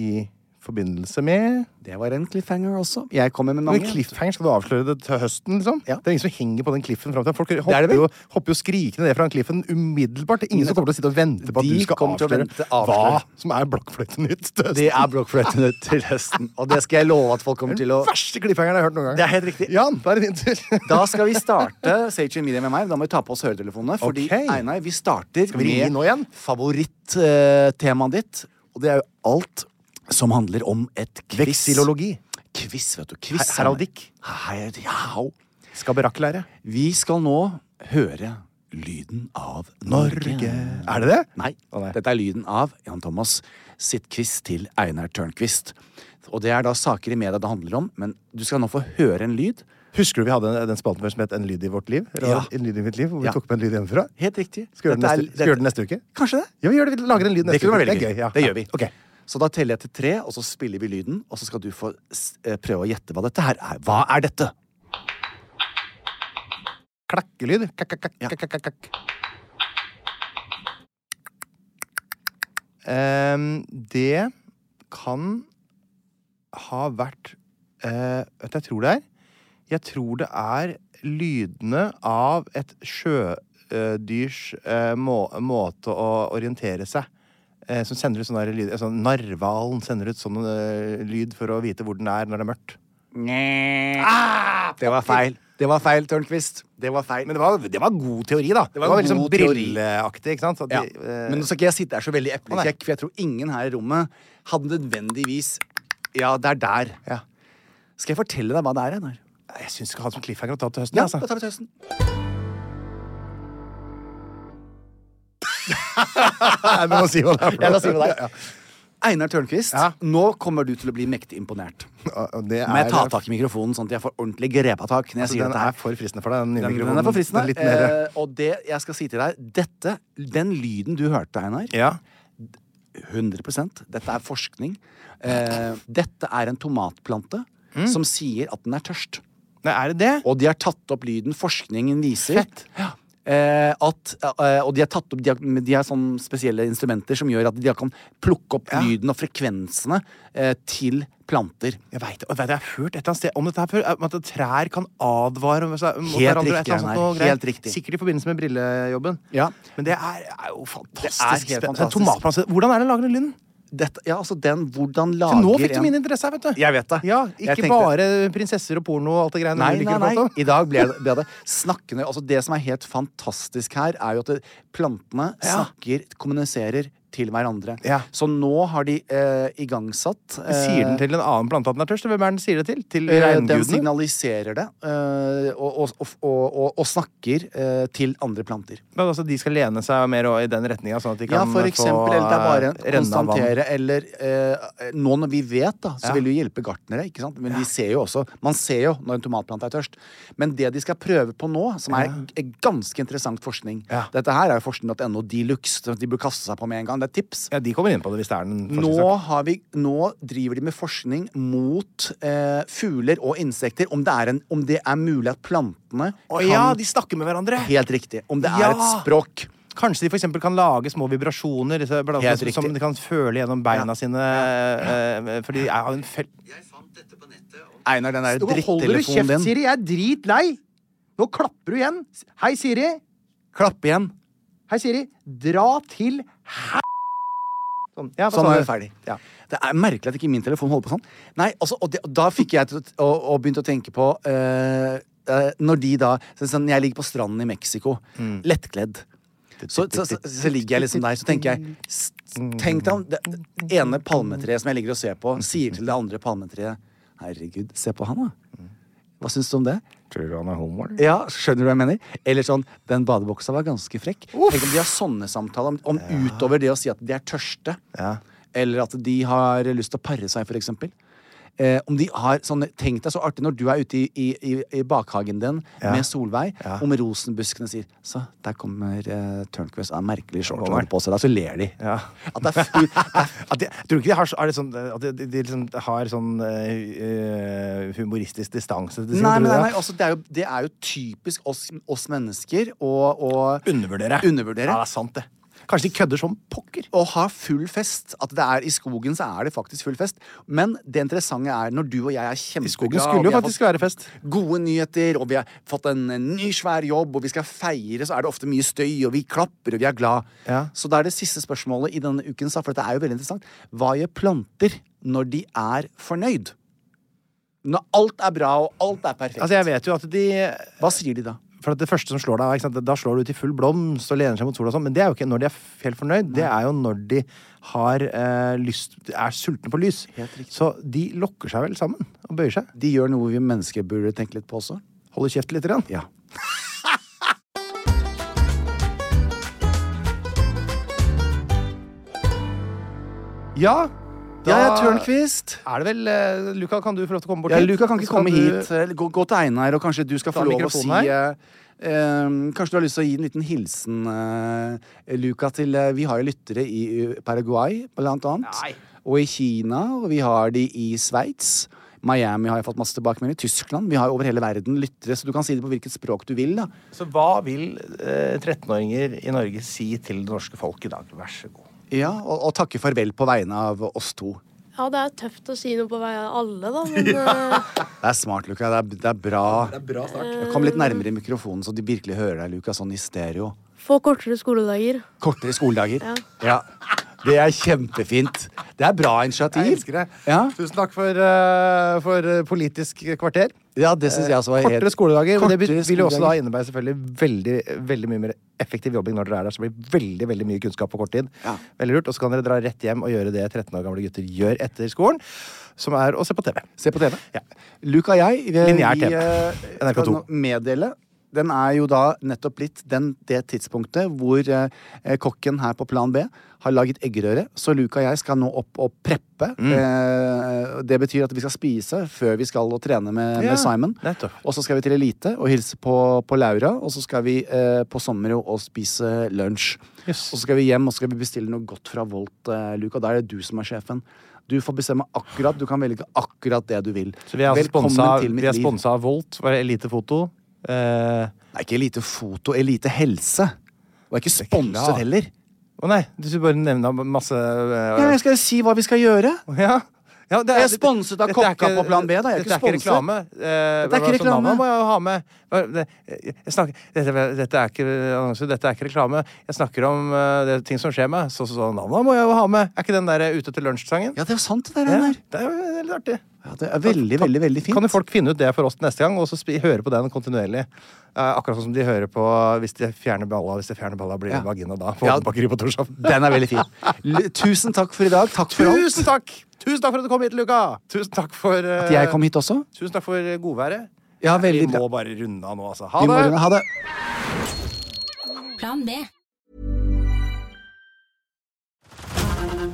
I forbindelse med Det var en cliffhanger også. Jeg kommer med Men mange. cliffhanger skal du avsløre det til høsten, liksom? Ja. Det er ingen som henger på den cliffen fram til Folk er det hopper vel? jo, hopper jo skrikende ned fra den cliffen umiddelbart. Det er ingen som kommer til å sitte og vente på at De du skal kommer til å avsløre, vente- avsløre. hva som er blokkfløytenytt til høsten. Det er blokkfløytene til høsten. Og det skal jeg love at folk kommer til å Den verste cliffhangeren jeg har hørt noen gang. Det er helt riktig. Jan, da er det din tur. Da skal vi starte Sage Media med meg. Da må vi ta på oss høretelefonene. Fordi Ok. Einar, vi starter vi ringe nå igjen? med favorittemaet ditt. Og det er jo alt som handler om et quiz. Veksilologi. Quiz, vet du. Quiz. Her- heraldikk. Her- ja. Skaberaklære. Vi skal nå høre lyden av Norge. Norge. Er det det? Nei. Å, nei. Dette er lyden av Jan Thomas sitt quiz til Einar Tørnquist. Og det er da saker i media det handler om, men du skal nå få høre en lyd. Husker du vi hadde den spalten før som het En lyd i vårt liv? Eller Ja. En lyd i mitt liv, Hvor vi Ja. tok med en lyd hjemmefra? Helt riktig. Skal vi gjøre den Dette er- neste- skal vi gjøre den neste uke? Kanskje det. Ja, vi gjør det. Vi lager en lyd Det neste kunne uke. vært veldig er gøy. gøy. Ja. Det gjør vi. Ok. Så da teller jeg til tre, og så spiller vi lyden, og så skal du få s- eh, prøve å gjette hva dette her er. Hva er dette? Klakkelyd. Kakk, kakk, kakk, Ja. kakk, kakk, kakk. Ehm, det kan ha vært eh, Vet du, jeg tror det er Jeg tror det er lydene av et sjødyrs eh, må, måte å orientere seg eh, Som sender ut sånne der lyd sånn, Narvalen sender ut sånn eh, lyd for å vite hvor den er når det er mørkt. Ah, det var feil. Det var feil, Tørnquist. Det var feil. Men det var, det var god teori, da. Det var var, veldig sånn god teori. brilleaktig. ikke sant? Så ja. de, eh, Men nå skal ikke jeg sitte her så Å, veldig nei. eplekjekk, for jeg tror ingen her i rommet hadde nødvendigvis Ja, det er der. Ja. Skal jeg fortelle deg hva det er, Einar? Nei, Jeg syns vi skal ha det som cliffhanger og ta det til høsten. Ja, altså. da tar vi til høsten. Nei, men man sier hva det [laughs] er for Jeg noe. kan si med deg. Einar Tørnquist, Ja. nå kommer du til å bli mektig imponert. Og- og det Må jeg er- ta tak i mikrofonen, sånn at jeg får ordentlig grepatak når jeg Altså, sier den dette her? er for fristende for deg, den nye Den, mikrofonen. den er for fristende. Den litt mer, Eh, og det jeg skal si til deg dette, Den lyden du hørte, Einar ja. 100 Dette er forskning. Eh, dette er en tomatplante Mm. som sier at den er tørst. Nei, er det det? Og de har tatt opp lyden forskningen viser. Ja. Eh, at, eh, og de har tatt opp De har, de har sånne spesielle instrumenter som gjør at de kan plukke opp lyden og frekvensene eh, til planter. Jeg veit det. Og vet du, Jeg har hørt et eller annet sted om dette her før. om At trær kan advare om seg mot Helt hverandre. riktig, et eller annet sånt Einar. noe greier. Helt riktig. Sikkert i forbindelse med brillejobben. Ja. Men det er, er jo fantastisk. helt spennende. fantastisk. Tomatplante. Hvordan er den lager den lyden? Dette, ja, altså den, hvordan Så lager nå fikk du en- min interesse her, vet du. Jeg vet det. Ja, Jeg Ikke tenkte- bare prinsesser og porno og alt det greiene Nei, du nei, liker å prate om. nei. I dag ble det, ble det snakkende. Altså det som er helt fantastisk her, er jo at det, plantene Ja. snakker, kommuniserer til hverandre. Ja. Så nå har de eh, igangsatt eh, Sier den til en annen plante at den er tørst? eller Hvem er den sier det til? Til eh, Den regngudene? signaliserer det, eh, og, og, og, og, og snakker eh, til andre planter. Men altså, de skal lene seg mer og- i den retninga, sånn at de Ja, kan for eksempel. Eller det er bare eh, å renne av vann. konstatere, eller eh, Nå når vi vet, da, så Ja. vil det jo hjelpe gartnere, ikke sant? Men de ser jo også Man ser jo når en tomatplante er tørst. Men det de skal prøve på nå, som er g- eh, ganske interessant forskning Ja. Dette her er jo forskning.no de luxe, så de burde kaste seg på med en gang. Det er tips. Ja, de kommer inn på det hvis det er den Nå, forskningssak. har vi, nå driver de med forskning mot eh, fugler og insekter. Om det, er en, om det er mulig at plantene Å kan ja, de snakker med hverandre! Helt riktig. Om det er Ja. et språk. Kanskje de for eksempel kan lage små vibrasjoner disse bladene, Helt som- riktig. som de kan føle gjennom beina sine. eh, For de er jo en fel... Einar, den der Holder du kjeft, drittelefonen din. Siri? Jeg er dritlei! Nå klapper du igjen. Hei, Siri. Klapp igjen. Hei, Siri. Dra til hæ... Sånn. Ja, da Sånn sa er du. vi ferdig. Ja. Det er merkelig at ikke min telefon holder på sånn. Nei, altså, og, det, og da fikk jeg til å, og, og begynte å tenke på eh, eh, Når de da så, sånn, Jeg ligger på stranden i Mexico, lettkledd. Så, så, så, så ligger jeg liksom der, så tenker jeg s- Tenk deg om det det ene palmetreet som jeg ligger og ser på, sier til det andre palmetreet Herregud, se på han, da. Hva syns du om det? Tror du han er homo, eller? Ja, skjønner du hva jeg mener? Eller sånn, den badeboksa var ganske frekk. Tenk om de har sånne samtaler, om, om utover det å si at de er tørste. Eller at de har lyst til å pare seg, for eksempel. eh, om de har sånn Tenk deg så artig når du er ute i, i, i, i bakhagen din med Solveig, om rosenbuskene sier Så, der kommer eh, Turnquist av merkelig shorts og på seg der, så ler de. At det er fu- [laughs] At de, tror du ikke de har, så- er det sånn, eh, at de, de, de liksom har sånn eh, eh, humoristisk distanse til Nei, tror du men nei, nei, det? altså, det, er jo, det er jo typisk oss, oss mennesker å å- Undervurdere. undervurdere. Ja, det er sant, det. Kanskje de kødder som pokker. Å ha full fest. At det er I skogen så er det faktisk full fest. Men det interessante er når du og jeg er kjempeglade skogen skulle jo og vi har faktisk fått være fest. Gode nyheter, og vi har fått en en ny, svær jobb, og vi skal feire, så er det ofte mye støy, og vi klapper, og vi er glad. Ja. Så da er det siste spørsmålet i denne ukens, da, for dette er jo veldig interessant. Hva gjør planter når de er fornøyd? Når alt er bra, og alt er perfekt. Altså, jeg vet jo at de Hva sier de da? For at det første som slår deg, er, ikke sant? da slår du ut i full blomst og lener seg mot sola og sånn, men det er jo ikke når de er f- helt fornøyd. Det er jo når de har eh, lyst Er sultne på lys. Så de lokker seg vel sammen og bøyer seg. De gjør noe vi mennesker burde tenke litt på også. Holder kjeft lite grann. Ja. Ja, da Jeg er Tørnquist. er det vel eh, Luca, kan du få lov til å komme bort Ja, hit? Luka kan ikke Så komme du- hit. eh, Eller Gå, gå til Einar, og kanskje du skal Ta få lov å si mikrofonen eh, eh, Kanskje du har lyst til å gi en liten hilsen, eh, Luka, til eh, Vi har jo lyttere i eh, Paraguay, blant annet. Og i Kina, og vi har de i Sveits. Miami har jeg fått masse tilbakemeldinger. Tyskland. Vi har over hele verden lyttere, så du kan si det på hvilket språk du vil. da. Så hva vil eh, 13-åringer i Norge si til det norske folk i dag? Vær så god. Ja, Og, og takke farvel på vegne av oss to. Ja, det er tøft å si noe på vei av alle, da, men eh, Det er smart, Luka. Det er, det er bra. Kom litt nærmere mikrofonen, så de virkelig hører deg, Luka, sånn i stereo. få kortere skoledager. Kortere skoledager. Ja. Det er kjempefint. Det er bra initiativ. Jeg elsker det. Ja, Tusen takk for, eh, for eh, Politisk kvarter. ja det syns jeg også var helt Kortere skoledager. og det Kortere vil- vil jo også da skoledager. innebære selvfølgelig veldig, veldig mye mer effektiv jobbing når dere er der. Så det blir veldig veldig mye kunnskap på kort tid. Ja. Veldig lurt. Og så kan dere dra rett hjem og gjøre det 13 år gamle gutter gjør etter skolen, som er å se på TV. Se på TV. Ja. Luke og jeg vi, Lineær vi, TV. eh, NRK2. skal nå meddele den er jo da nettopp blitt den, det tidspunktet hvor eh, kokken her på Plan B har laget eggerøre. Så Luke og jeg skal nå opp og preppe. Mm. Eh, det betyr at vi skal spise før vi skal og trene med, Ja, med Simon. nettopp. Og så skal vi til Elite og hilse på, på Laura. Og så skal vi eh, på Sommero og spise lunsj. Yes. Og så skal vi hjem og så skal vi bestille noe godt fra Volt, eh, Luke. Og da er det du som er sjefen. Du får bestemme akkurat, du kan velge akkurat det du vil. Så vi er altså Velkommen sponsa, til mitt vi er liv. sponsa av Volt, var det Elite Foto. Eh, Nei, ikke Elite Foto, Elite Helse. Og jeg er klart. ikke sponset heller. Å nei, du skulle bare nevne masse eh, Ja, jeg skal jo si hva vi skal gjøre. ja. Ja, det Jeg er sponset av dette er kokka ikke- på Plan B, da. Jeg er dette ikke sponset. reklame. Eh, Dette er ikke altså, navnet reklame. må jeg jo ha med. Hva- det- Jeg snakker, dette, dette er ikke annonse, dette er ikke reklame. Jeg snakker om eh, det, ting som skjer meg. Så, så, så navnet må jeg jo ha med. Er ikke den der eh, Ute til lunsj-sangen? Ja, det er jo sant, det der. Ja, Einar. det er jo litt artig. Ja, det er veldig, veldig, veldig fint. Kan jo folk finne ut det for oss neste gang, og så spi, høre på den kontinuerlig? Eh, akkurat sånn som de hører på hvis de fjerner balla. Hvis de fjerner balla, blir det Ja. vagina da. På Ja. bakeri på Torshov. Den er veldig fin. [laughs] L- Tusen takk for i dag. Takk for alt. Tusen takk! Tusen takk for at du kom hit, Luka! Tusen takk for eh, At jeg kom hit også. Tusen takk for godværet. Ja, veldig Vi bra. må bare runde av nå, altså. Ha Vi må det! runde- Ha det. Plan B.